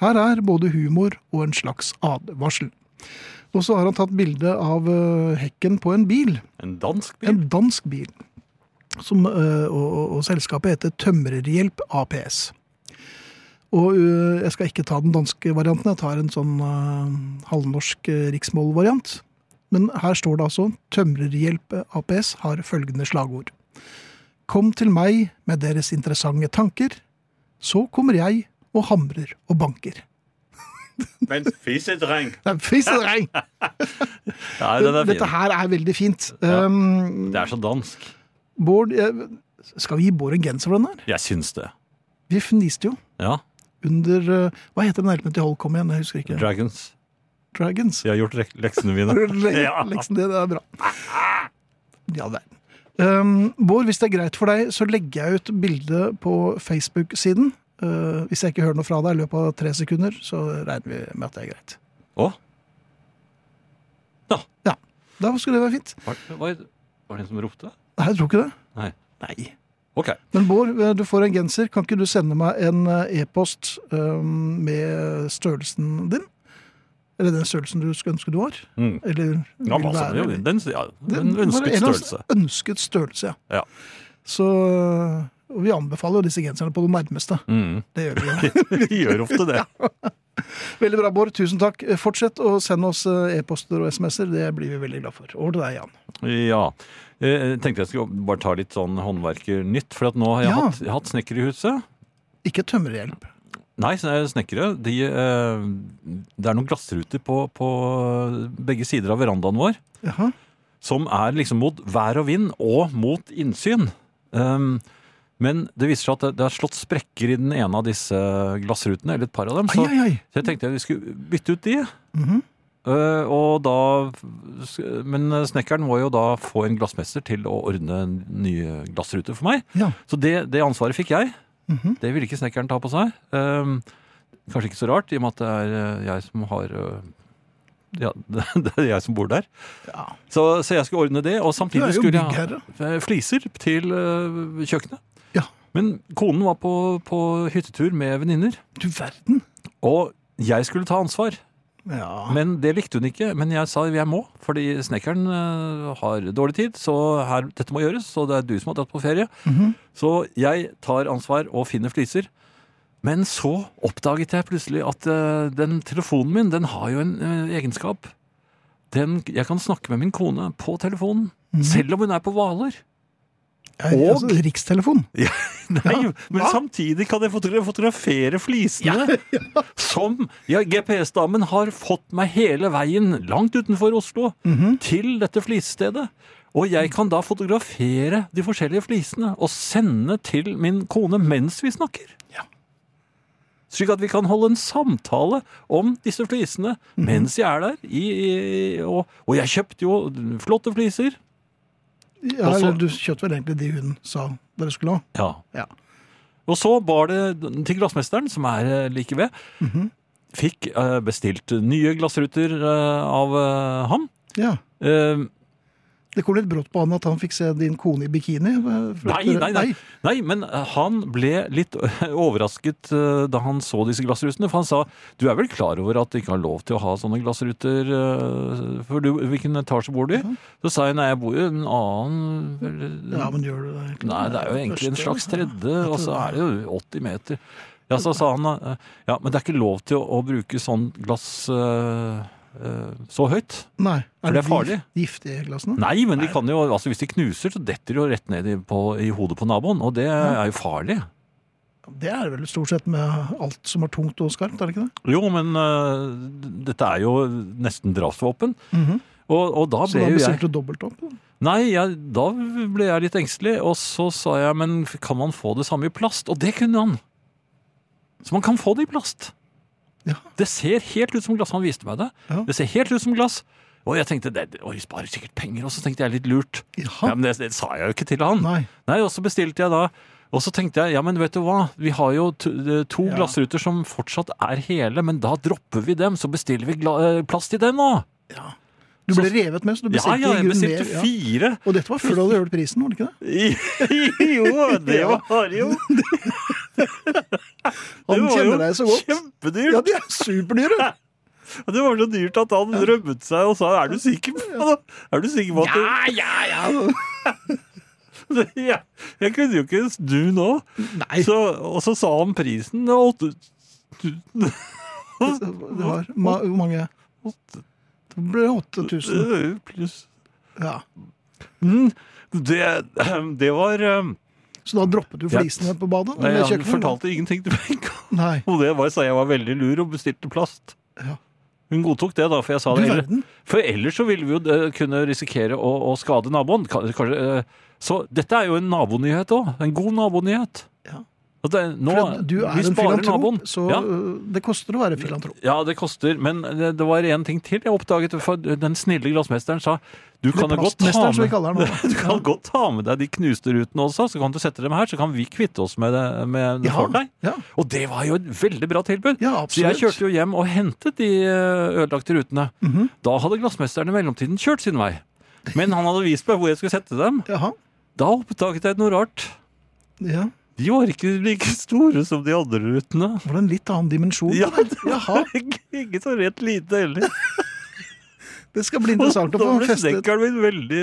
Speaker 2: Her er både humor og en slags advarsel. Og så har han tatt bilde av eh, hekken på en bil.
Speaker 3: En dansk bil?
Speaker 2: En dansk bil. Som, øh, og, og, og selskapet heter Tømrerhjelp APS. Og øh, jeg skal ikke ta den danske varianten, jeg tar en sånn øh, halvnorsk øh, eh, riksmålvariant. Men her står det altså 'Tømrerhjelp APS har følgende slagord'. Kom til meg med deres interessante tanker, så kommer jeg og hamrer og banker.
Speaker 6: Men fisedreng!
Speaker 2: Nei, fis og reng!
Speaker 3: Nei, den er
Speaker 2: Dette
Speaker 3: fin.
Speaker 2: her er veldig fint.
Speaker 3: Ja.
Speaker 2: Um,
Speaker 3: Det er så dansk.
Speaker 2: Bård, jeg- skal vi gi Bård en genser for den her?
Speaker 3: Jeg syns det.
Speaker 2: Vi fniste jo
Speaker 3: Ja.
Speaker 2: under uh, Hva heter den hjelpen til Holm kom igjen? Jeg husker ikke.
Speaker 3: Dragons.
Speaker 2: Dragons.
Speaker 3: Jeg har gjort lek- leksene mine. Ja.
Speaker 2: Leksen din er bra. Ja, det er den. Um, Bård, hvis det er greit for deg, så legger jeg ut bilde på Facebook-siden. Uh, hvis jeg ikke hører noe fra deg i løpet av tre sekunder, så regner vi med at det er greit.
Speaker 3: Å? Ja.
Speaker 2: Ja, Da skulle det være fint.
Speaker 3: Var, var, var det en som ropte?
Speaker 2: Nei, jeg tror ikke det.
Speaker 3: Nei.
Speaker 2: Nei.
Speaker 3: OK.
Speaker 2: Men Bård, eh, du får en genser. Kan ikke du sende meg en eh, e-post um, med størrelsen din? Eller den størrelsen du skulle ønske du var?
Speaker 3: Mm.
Speaker 2: Eller
Speaker 3: Ja,
Speaker 2: vil
Speaker 3: hva som
Speaker 2: være?
Speaker 3: helst. Den, ja, den
Speaker 2: Det var en
Speaker 3: ønsket
Speaker 2: eller annen
Speaker 3: størrelse.
Speaker 2: Ønsket størrelse, ja.
Speaker 3: Ja.
Speaker 2: Så og vi anbefaler jo disse genserne på det nærmeste.
Speaker 3: Mm.
Speaker 2: Det gjør vi. jo.
Speaker 3: Vi gjør ofte det.
Speaker 2: veldig bra, Bård. Tusen takk. Eh, Fortsett å sende oss eh, e-poster og SMS-er. Det blir vi veldig glad for. Over til deg, Jan.
Speaker 3: Ja. Jeg tenkte jeg skulle bare ta litt sånn håndverkernytt, for at nå har jeg
Speaker 2: Ja.
Speaker 3: hatt, jeg har hatt snekker i huset.
Speaker 2: Ikke tømmerhjelp.
Speaker 3: Nei, så er snekkere. De, eh, det er noen glassruter på, på begge sider av verandaen vår
Speaker 2: Jaha.
Speaker 3: som er liksom mot vær og vind og mot innsyn. Um, men det viser seg at det, det er slått sprekker i den ene av disse glassrutene, eller et par av dem.
Speaker 2: Ai,
Speaker 3: Så,
Speaker 2: ai, ai.
Speaker 3: så jeg tenkte jeg vi skulle bytte ut de.
Speaker 2: Mhm.
Speaker 3: Eh, og da, men snekkeren må jo da få en glassmester til å ordne nye glassruter for meg.
Speaker 2: Ja.
Speaker 3: Så det, det ansvaret fikk jeg.
Speaker 2: Mhm.
Speaker 3: Det ville ikke snekkeren ta på seg. Ehm, kanskje ikke så rart, i og med at det er eh, jeg som har eh, Ja, det, det er jeg som bor der.
Speaker 2: Ja.
Speaker 3: Så, så jeg skulle ordne det, og
Speaker 2: Du
Speaker 3: samtidig
Speaker 2: er jo
Speaker 3: skulle jeg ha
Speaker 2: byggherre.
Speaker 3: eh, fliser til eh, kjøkkenet.
Speaker 2: Ja.
Speaker 3: Men konen var på, på hyttetur med venninner,
Speaker 2: Du verden.
Speaker 3: og jeg skulle ta ansvar.
Speaker 2: Ja.
Speaker 3: Men det likte hun ikke. Men jeg sa jeg må, fordi snekkeren eh, har dårlig tid. Så her, dette må gjøres, så det er du som har dratt på ferie. Så jeg tar ansvar og finner fliser. Men så oppdaget jeg plutselig at eh, den telefonen min, den har jo en eh, egenskap. Den, jeg kan snakke med min kone på telefonen, selv om hun er på Hvaler.
Speaker 2: Jeg,
Speaker 3: og-
Speaker 2: altså, rikstelefon.
Speaker 3: Nei, men
Speaker 2: hva?
Speaker 3: samtidig kan jeg fotogra- fotografere flisene som ja, GPS-damen har fått meg hele veien langt utenfor Oslo til dette flisstedet. Og jeg kan da fotografere de forskjellige flisene og sende til min kone mens vi snakker. Slik at vi kan holde en samtale om disse flisene mens jeg er der. I, i, og, og jeg kjøpte jo flotte fliser.
Speaker 2: Ja,
Speaker 3: Og så-
Speaker 2: eller du kjøpte vel egentlig de hun sa dere skulle ha.
Speaker 3: Ja.
Speaker 2: Ja.
Speaker 3: Og så bar det til glassmesteren, som er eh, like ved.
Speaker 2: Mhm.
Speaker 3: Fikk eh, bestilt nye glassruter eh, av eh, ham.
Speaker 2: Ja.
Speaker 3: Eh,
Speaker 2: Det kom litt brått på han at han fikk se din kone i bikini.
Speaker 3: nei, nei, nei, nei, men eh, han ble litt overrasket eh, da han så disse glassrutene. For han sa du er vel klar over at du ikke har lov til å ha sånne glassruter? eh, For du, hvilken etasje bor du i? Så sa jeg nei, jeg bor jo i en annen eller,
Speaker 2: Mhm. Ja, men gjør du det? egentlig?
Speaker 3: Nei, det er jo egentlig en
Speaker 2: første-
Speaker 3: slags tredje, og så er det jo 80 meter. Ja, så sa han eh, ja, men det er ikke lov til å, å bruke sånn glass eh, eh, så høyt.
Speaker 2: Nei.
Speaker 3: For det er farlig.
Speaker 2: de giftige glassene?
Speaker 3: Nei, men de kan jo, altså hvis de knuser, så detter de jo rett ned i, på, i hodet på naboen, og det er jo farlig.
Speaker 2: Det er vel stort sett med alt som er tungt og skarpt, er det ikke det?
Speaker 3: Jo, men eh, dette er jo nesten drapsvåpen. og, og da
Speaker 2: Så
Speaker 3: ble
Speaker 2: da
Speaker 3: jo jeg
Speaker 2: bestilte du dobbelt opp? da?
Speaker 3: Nei, jeg, da ble jeg litt engstelig, og så sa jeg, men kan man få det samme i plast? Og det kunne han. Så man kan få det i plast.
Speaker 2: Ja.
Speaker 3: Det ser helt ut som glass, han viste meg det.
Speaker 2: Ja.
Speaker 3: Det ser helt ut som glass. Og jeg tenkte, det, oi, sparer sikkert penger, og så tenkte jeg litt lurt.
Speaker 2: Jaha.
Speaker 3: Ja, men det, det sa jeg jo ikke til han.
Speaker 2: Nei.
Speaker 3: Nei, og så bestilte jeg da, og så tenkte jeg, ja, men vet du hva? Vi har jo to, to
Speaker 2: Ja.
Speaker 3: glassruter som fortsatt er hele, men da dropper vi dem, så bestiller vi gla, eh, plast i dem nå.
Speaker 2: Du
Speaker 3: Så-
Speaker 2: ble revet med, så du
Speaker 3: Ja,
Speaker 2: bestilte i
Speaker 3: ja, jeg
Speaker 2: grunnen
Speaker 3: bestilte
Speaker 2: mer, ja.
Speaker 3: fire.
Speaker 2: Og dette var før du hadde hørt prisen, var det ikke det?
Speaker 3: jo, det var det jo.
Speaker 2: Han
Speaker 3: var jo
Speaker 2: kjenner deg så godt.
Speaker 3: Kjempedyrt.
Speaker 2: Ja, de er superdyre!
Speaker 3: Det var så dyrt at han rømmet seg og sa 'er du sikker på det?' Er du sikker på at du...
Speaker 2: ja, ja!
Speaker 3: Ja, Jeg kunne jo ikke snu nå.
Speaker 2: Nei.
Speaker 3: Så, og så sa han prisen. det var åtte-
Speaker 2: Det var ma hvor mange? Det ble 8000.
Speaker 3: Øh, pluss.
Speaker 2: Ja.
Speaker 3: Mm, Det, det var eh,
Speaker 2: Så da droppet du
Speaker 3: Ja.
Speaker 2: flisene på badet?
Speaker 3: Nei,
Speaker 2: eller
Speaker 3: han
Speaker 2: kjøkkenet?
Speaker 3: fortalte ingenting til meg.
Speaker 2: Nei.
Speaker 3: Og det var, sa jeg var veldig lur og bestilte plast.
Speaker 2: Ja.
Speaker 3: Hun godtok det, da, for jeg sa
Speaker 2: Du
Speaker 3: det. ellers-
Speaker 2: verden.
Speaker 3: For ellers så ville vi jo eh, kunne risikere å, å skade naboen. Ka- Kanskje, eh, så dette er jo en nabonyhet òg. En god nabonyhet.
Speaker 2: Ja.
Speaker 3: At det, nå,
Speaker 2: For du er
Speaker 3: vi
Speaker 2: en
Speaker 3: sparer
Speaker 2: filantrop,
Speaker 3: naboen.
Speaker 2: så
Speaker 3: ja.
Speaker 2: øh, det koster å være filantrop.
Speaker 3: ja, det koster. Men eh, det, det var én ting til jeg oppdaget. For den snille glassmesteren sa du kan, jo godt ta
Speaker 2: Plastmesteren, som vi
Speaker 3: med,
Speaker 2: kaller den nå.
Speaker 3: du kan godt ta med deg de knuste rutene også, så kan du sette dem her. Så kan vi kvitte oss med det, med det for deg.
Speaker 2: Ja,
Speaker 3: Og det var jo et veldig bra tilbud.
Speaker 2: ja
Speaker 3: Så jeg
Speaker 2: absolutt.
Speaker 3: kjørte jo hjem og hentet de eh, ødelagte rutene.
Speaker 2: Mhm.
Speaker 3: Da hadde glassmesteren i mellomtiden kjørt sin vei. Men han hadde vist meg hvor jeg skulle sette dem.
Speaker 2: Jaha.
Speaker 3: Da oppdaget jeg noe rart.
Speaker 2: Ja.
Speaker 3: De var ikke like store som de andre rutene.
Speaker 2: Var det en litt annen dimensjon?
Speaker 3: Ja, det
Speaker 2: Jaha.
Speaker 3: Ikke så rett lite heller.
Speaker 2: Det skal bli
Speaker 3: Og
Speaker 2: interessant å
Speaker 3: Da
Speaker 2: få
Speaker 3: ble
Speaker 2: festet.
Speaker 3: snekkeren min veldig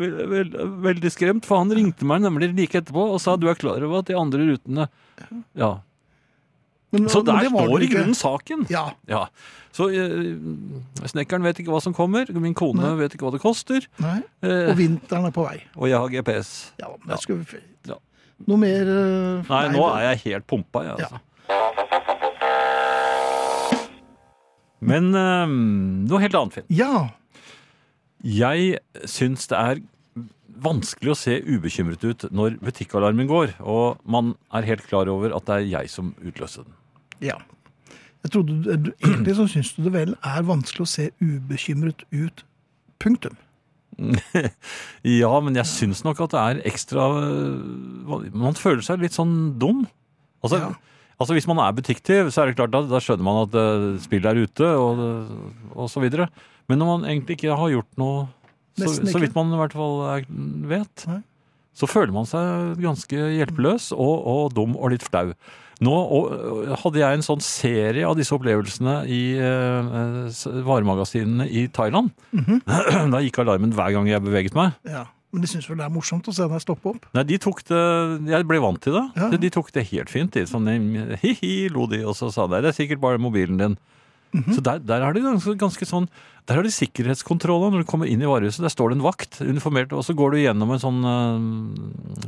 Speaker 3: vel- vel- Veldig skremt, for han ringte meg nemlig like etterpå og sa du er klar over at de andre rutene Ja.
Speaker 2: Men-
Speaker 3: Så
Speaker 2: men
Speaker 3: der
Speaker 2: det var det
Speaker 3: står i
Speaker 2: ikke.
Speaker 3: grunnen saken.
Speaker 2: Ja.
Speaker 3: Ja, så eh, snekkeren vet ikke hva som kommer, min kone
Speaker 2: Nei.
Speaker 3: vet ikke hva det koster,
Speaker 2: Nei.
Speaker 3: eh,
Speaker 2: Og vinteren er på vei.
Speaker 3: og jeg har GPS.
Speaker 2: Ja, men det skulle vi...
Speaker 3: Ja.
Speaker 2: Noe mer øh,
Speaker 3: Nei, nå
Speaker 2: det-
Speaker 3: er jeg helt pumpa, jeg.
Speaker 2: Ja.
Speaker 3: Altså. Men eh, noe helt annet, Finn.
Speaker 2: Ja.
Speaker 3: Jeg syns det er vanskelig å se ubekymret ut når butikkalarmen går, og man er helt klar over at det er jeg som utløste den.
Speaker 2: Ja. Jeg trodde, du- eh, du, egentlig så syns du det vel er vanskelig å se ubekymret ut. Punktum.
Speaker 3: Ja, men jeg syns nok at det er ekstra øh, Man føler seg litt sånn dum. Altså,
Speaker 2: Ja.
Speaker 3: altså hvis man er butikktyv, så er det klart da, da skjønner man at øh, spillet er ute, og, og så videre. Men når man egentlig ikke har gjort noe så,
Speaker 2: Nesten ikke.
Speaker 3: så vidt man i hvert fall er, vet,
Speaker 2: Nei.
Speaker 3: så føler man seg ganske hjelpeløs og, og dum og litt flau. Nå og, og hadde jeg en sånn serie av disse opplevelsene i øh, s- varemagasinene i Thailand.
Speaker 2: Mhm.
Speaker 3: Da gikk alarmen hver gang jeg beveget meg.
Speaker 2: Ja. Men de syns vel det er morsomt å se deg stoppe opp?
Speaker 3: Nei, de tok det Jeg ble vant til det.
Speaker 2: Ja.
Speaker 3: De- De tok det helt fint. De, sånn, hi-hi, lo de, og så sa de det er sikkert bare mobilen din.
Speaker 2: Mhm.
Speaker 3: Så der, der er de ganske, ganske sånn Der har de sikkerhetskontroller når du kommer inn i varehuset. Der står det en vakt, uniformert, og så går du gjennom en sånn eh,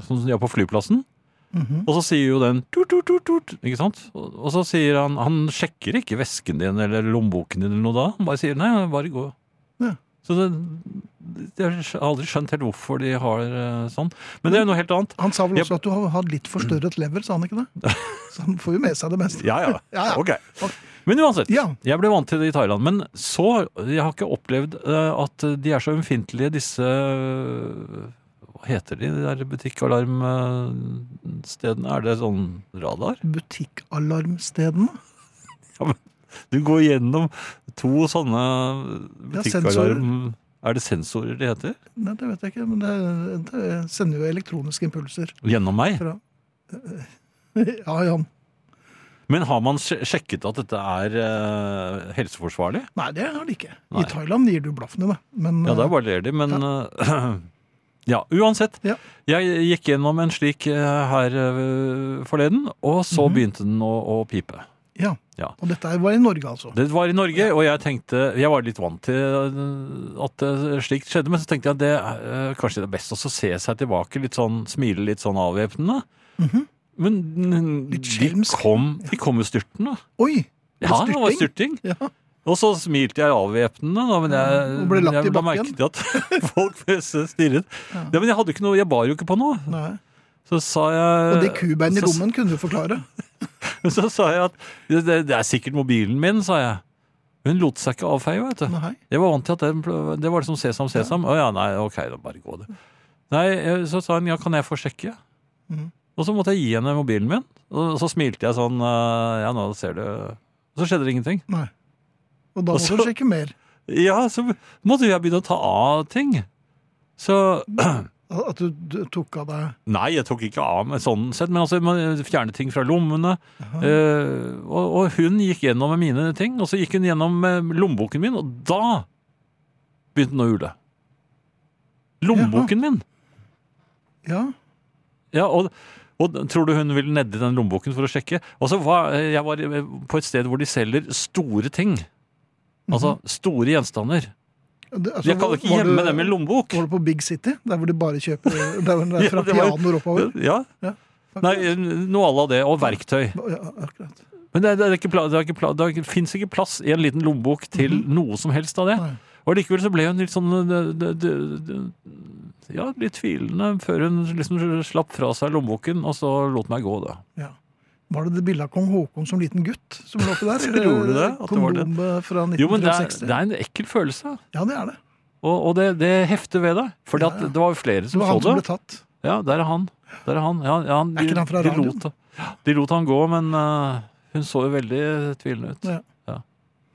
Speaker 3: Sånn som de har på flyplassen.
Speaker 2: Mhm.
Speaker 3: Og så sier jo den tut, tut, tut, tut, ikke sant? Og, og så sier han Han sjekker ikke vesken din eller lommeboken din eller noe da. Han bare sier nei, bare gå.
Speaker 2: Ja.
Speaker 3: Så det, jeg har aldri skjønt helt hvorfor de har eh, sånn. Men det er jo noe helt annet.
Speaker 2: Han sa vel
Speaker 3: Ja.
Speaker 2: også at du har hatt litt forstørret lever, sa han ikke det? Så han får jo med seg det meste.
Speaker 3: Ja, ja.
Speaker 2: Ja, ja.
Speaker 3: Ok. Men uansett,
Speaker 2: Ja.
Speaker 3: jeg ble vant til det i Thailand. Men så Jeg har ikke opplevd eh, at de er så ømfintlige, disse eh, Hva heter de, de der butikkalarmstedene? Er det sånn radar?
Speaker 2: Butikkalarmstedene.
Speaker 3: Du går gjennom to sånne
Speaker 2: Ja, sensorer.
Speaker 3: butikkalarm... er det sensorer de heter?
Speaker 2: Nei, det vet jeg ikke, men det, det sender jo elektroniske impulser
Speaker 3: Gjennom meg?
Speaker 2: fra Ja, Jan.
Speaker 3: Men har man sj- sjekket at dette er eh, helseforsvarlig?
Speaker 2: Nei, det har de ikke.
Speaker 3: Nei.
Speaker 2: I Thailand gir du blaffen i det. Men
Speaker 3: Ja, der bare ler de, men eh, Ja, uansett.
Speaker 2: Ja.
Speaker 3: Jeg gikk gjennom en slik eh, her eh, forleden, og så
Speaker 2: Mhm.
Speaker 3: begynte den å, å pipe.
Speaker 2: ja.
Speaker 3: Ja.
Speaker 2: Og dette var i Norge, altså.
Speaker 3: Det var i Norge, og jeg tenkte Jeg var litt vant til eh, at eh, slikt skjedde, men så tenkte jeg at det eh, kanskje det er best også å se seg tilbake, litt sånn, smile litt sånn avvæpnende. Men
Speaker 2: Mhm. Litt
Speaker 3: de
Speaker 2: skjelmsk.
Speaker 3: kom, de kom jo styrtende.
Speaker 2: Oi! det
Speaker 3: Ja,
Speaker 2: var
Speaker 3: det var styrting.
Speaker 2: Ja.
Speaker 3: Og så smilte jeg avvæpnende, da, men jeg,
Speaker 2: Og ble lagt i
Speaker 3: jeg la
Speaker 2: bakken.
Speaker 3: merke til at folk ble så stirret. Ja, men jeg hadde ikke noe, jeg bar jo ikke på noe.
Speaker 2: Nei.
Speaker 3: Så sa jeg
Speaker 2: Og det kubeinet i
Speaker 3: Eh, så-
Speaker 2: lommen kunne du forklare.
Speaker 3: Så sa jeg at det, det- det er sikkert mobilen min, sa jeg. Hun lot seg ikke avfeie, vet du.
Speaker 2: Nei.
Speaker 3: Jeg var vant til at den, ble- det var liksom sesam, sesam. Å ja, nei, ok, da bare gå det. Nei, eh, så sa hun ja, kan jeg få sjekke?
Speaker 2: Mhm.
Speaker 3: Og så måtte jeg gi henne mobilen min. Og så smilte jeg sånn, eh, ja nå ser du. Og så skjedde det ingenting.
Speaker 2: Nei. Og da må
Speaker 3: Og så-
Speaker 2: du sjekke mer.
Speaker 3: Ja, så måtte jeg begynne å ta av ting. Så
Speaker 2: At du, du tok av deg
Speaker 3: Nei, jeg tok ikke av meg sånn sett, men altså, man fjernet ting fra lommene. eh, og, og hun gikk gjennom med mine ting, og så gikk hun gjennom med lommeboken min, og da begynte hun å ule. Lommeboken min!
Speaker 2: Ja.
Speaker 3: Ja, og, og tror du hun ville nedi den lommeboken for å sjekke? Altså, hva, jeg var på et sted hvor de selger store ting. Altså store gjenstander.
Speaker 2: Det- Mhm. altså,
Speaker 3: Jeg kan
Speaker 2: var-
Speaker 3: jo ikke
Speaker 2: var du-
Speaker 3: gjemme dem i en lommebok.
Speaker 2: Var du på Big City, der hvor de bare kjøper der, hvor det er fra
Speaker 3: Ja, det var-
Speaker 2: pianoer oppover?
Speaker 3: Ja.
Speaker 2: Ja.
Speaker 3: Nei, noe à la det. Og verktøy.
Speaker 2: Ja, akkurat.
Speaker 3: Men det, det, er ikke, pla- det, er ikke, pla- det er ikke- finnes ikke plass i en liten lommebok til noe som helst av det.
Speaker 2: Mhm. Nei.
Speaker 3: Og likevel så ble hun litt sånn det, det, det, det, Ja, litt tvilende før hun liksom slapp fra seg lommeboken, og så lot meg gå, da.
Speaker 2: Ja. Var det det bildet av kong Haakon som liten gutt som lå oppi der?
Speaker 3: Tror du det, at det var det?
Speaker 2: Kondom eh, fra
Speaker 3: Jo, men det er,
Speaker 2: 1963.
Speaker 3: det er en ekkel følelse.
Speaker 2: Ja, det er det.
Speaker 3: Og, og det, det hefter ved deg. For
Speaker 2: Ja, ja.
Speaker 3: det var jo flere
Speaker 2: Det
Speaker 3: som
Speaker 2: var han som
Speaker 3: så
Speaker 2: ble
Speaker 3: det.
Speaker 2: tatt.
Speaker 3: Ja, der er han. Der er han. Ja, ja, han
Speaker 2: Er ikke han fra
Speaker 3: de, de,
Speaker 2: radioen?
Speaker 3: lot, ja, de lot han gå, men eh, hun så jo veldig tvilende ut.
Speaker 2: Ja. Mhm.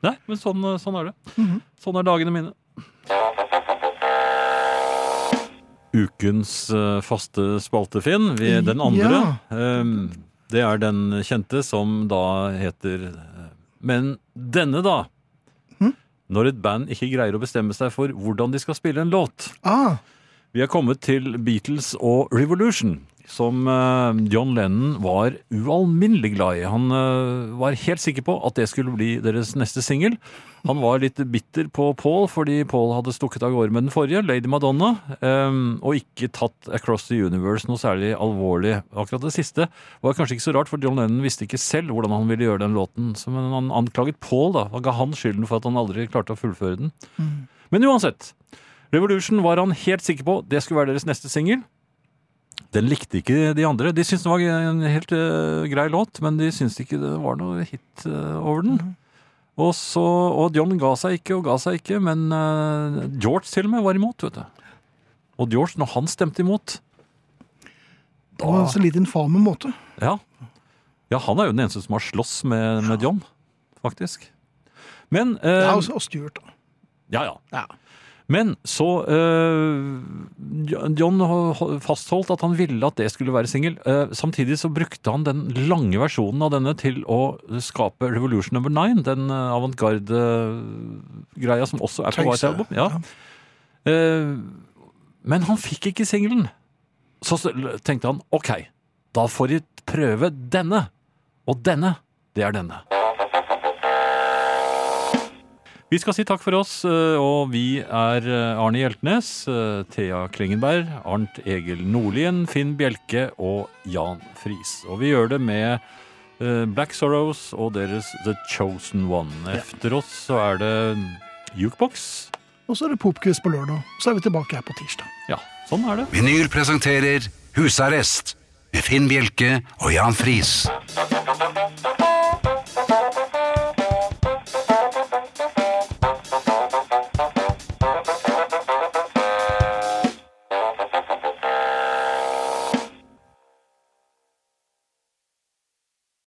Speaker 3: Nei, men sånn, sånn er det. Sånn er dagene mine. Ukens eh, faste spalte, Finn. Vi, den andre. ehm, det er den kjente som da heter eh, Men denne, da?
Speaker 2: Hm?
Speaker 3: Når et band ikke greier å bestemme seg for hvordan de skal spille en låt.
Speaker 2: Ah,
Speaker 3: Vi er kommet til Beatles og Revolution, som eh, John Lennon var ualminnelig glad i. Han eh, var helt sikker på at det skulle bli deres neste singel. Han var litt bitter på Paul fordi Paul hadde stukket av gårde med den forrige, Lady Madonna, eh, og ikke tatt Across the Universe noe særlig alvorlig. Akkurat det siste var kanskje ikke så rart, for John Lennon visste ikke selv hvordan han ville gjøre den låten. Så, men han anklaget Paul, da. Han ga han skylden for at han aldri klarte å fullføre den. Men uansett. Revolution var han helt sikker på det skulle være deres neste singel. Den likte ikke de andre. De syntes det var en helt eh, grei låt, men de syntes ikke det var noe hit eh, over den. Og, så, og John ga seg ikke og ga seg ikke, men eh, George til og med var imot, vet du. Og George, når han stemte imot
Speaker 2: det var altså en så lite infame måte.
Speaker 3: ja. ja, han er jo den eneste som har slåss med, med John, faktisk. Men eh,
Speaker 2: Ja, og, altså- og styrt. da.
Speaker 3: Ja, ja. Men så øh, John ho- fastholdt at han ville at det skulle være singel. Eh, samtidig så brukte han den lange versjonen av denne til å skape Revolution Number 9, den eh, avantgarde-greia som også er på White
Speaker 2: Tøyse,
Speaker 3: Album. Ja. Eh, men han fikk ikke singelen. Så s- tenkte han OK, da får de prøve denne. Og denne, det er denne. Vi skal si takk for oss, eh, og vi er eh, Arne Hjeltnes, eh, Thea Klingenberg, Arnt Egil Nordlien, Finn Bjelke og Jan Friis. Og vi gjør det med eh, Black Sorrows og deres The Chosen One. Efter oss så er det mm, Jukebox.
Speaker 2: Og så er det popquiz på lørdag. Så er vi tilbake her på tirsdag.
Speaker 3: Ja, sånn er det.
Speaker 1: Vinyl presenterer Husarrest med Finn Bjelke og Jan Friis.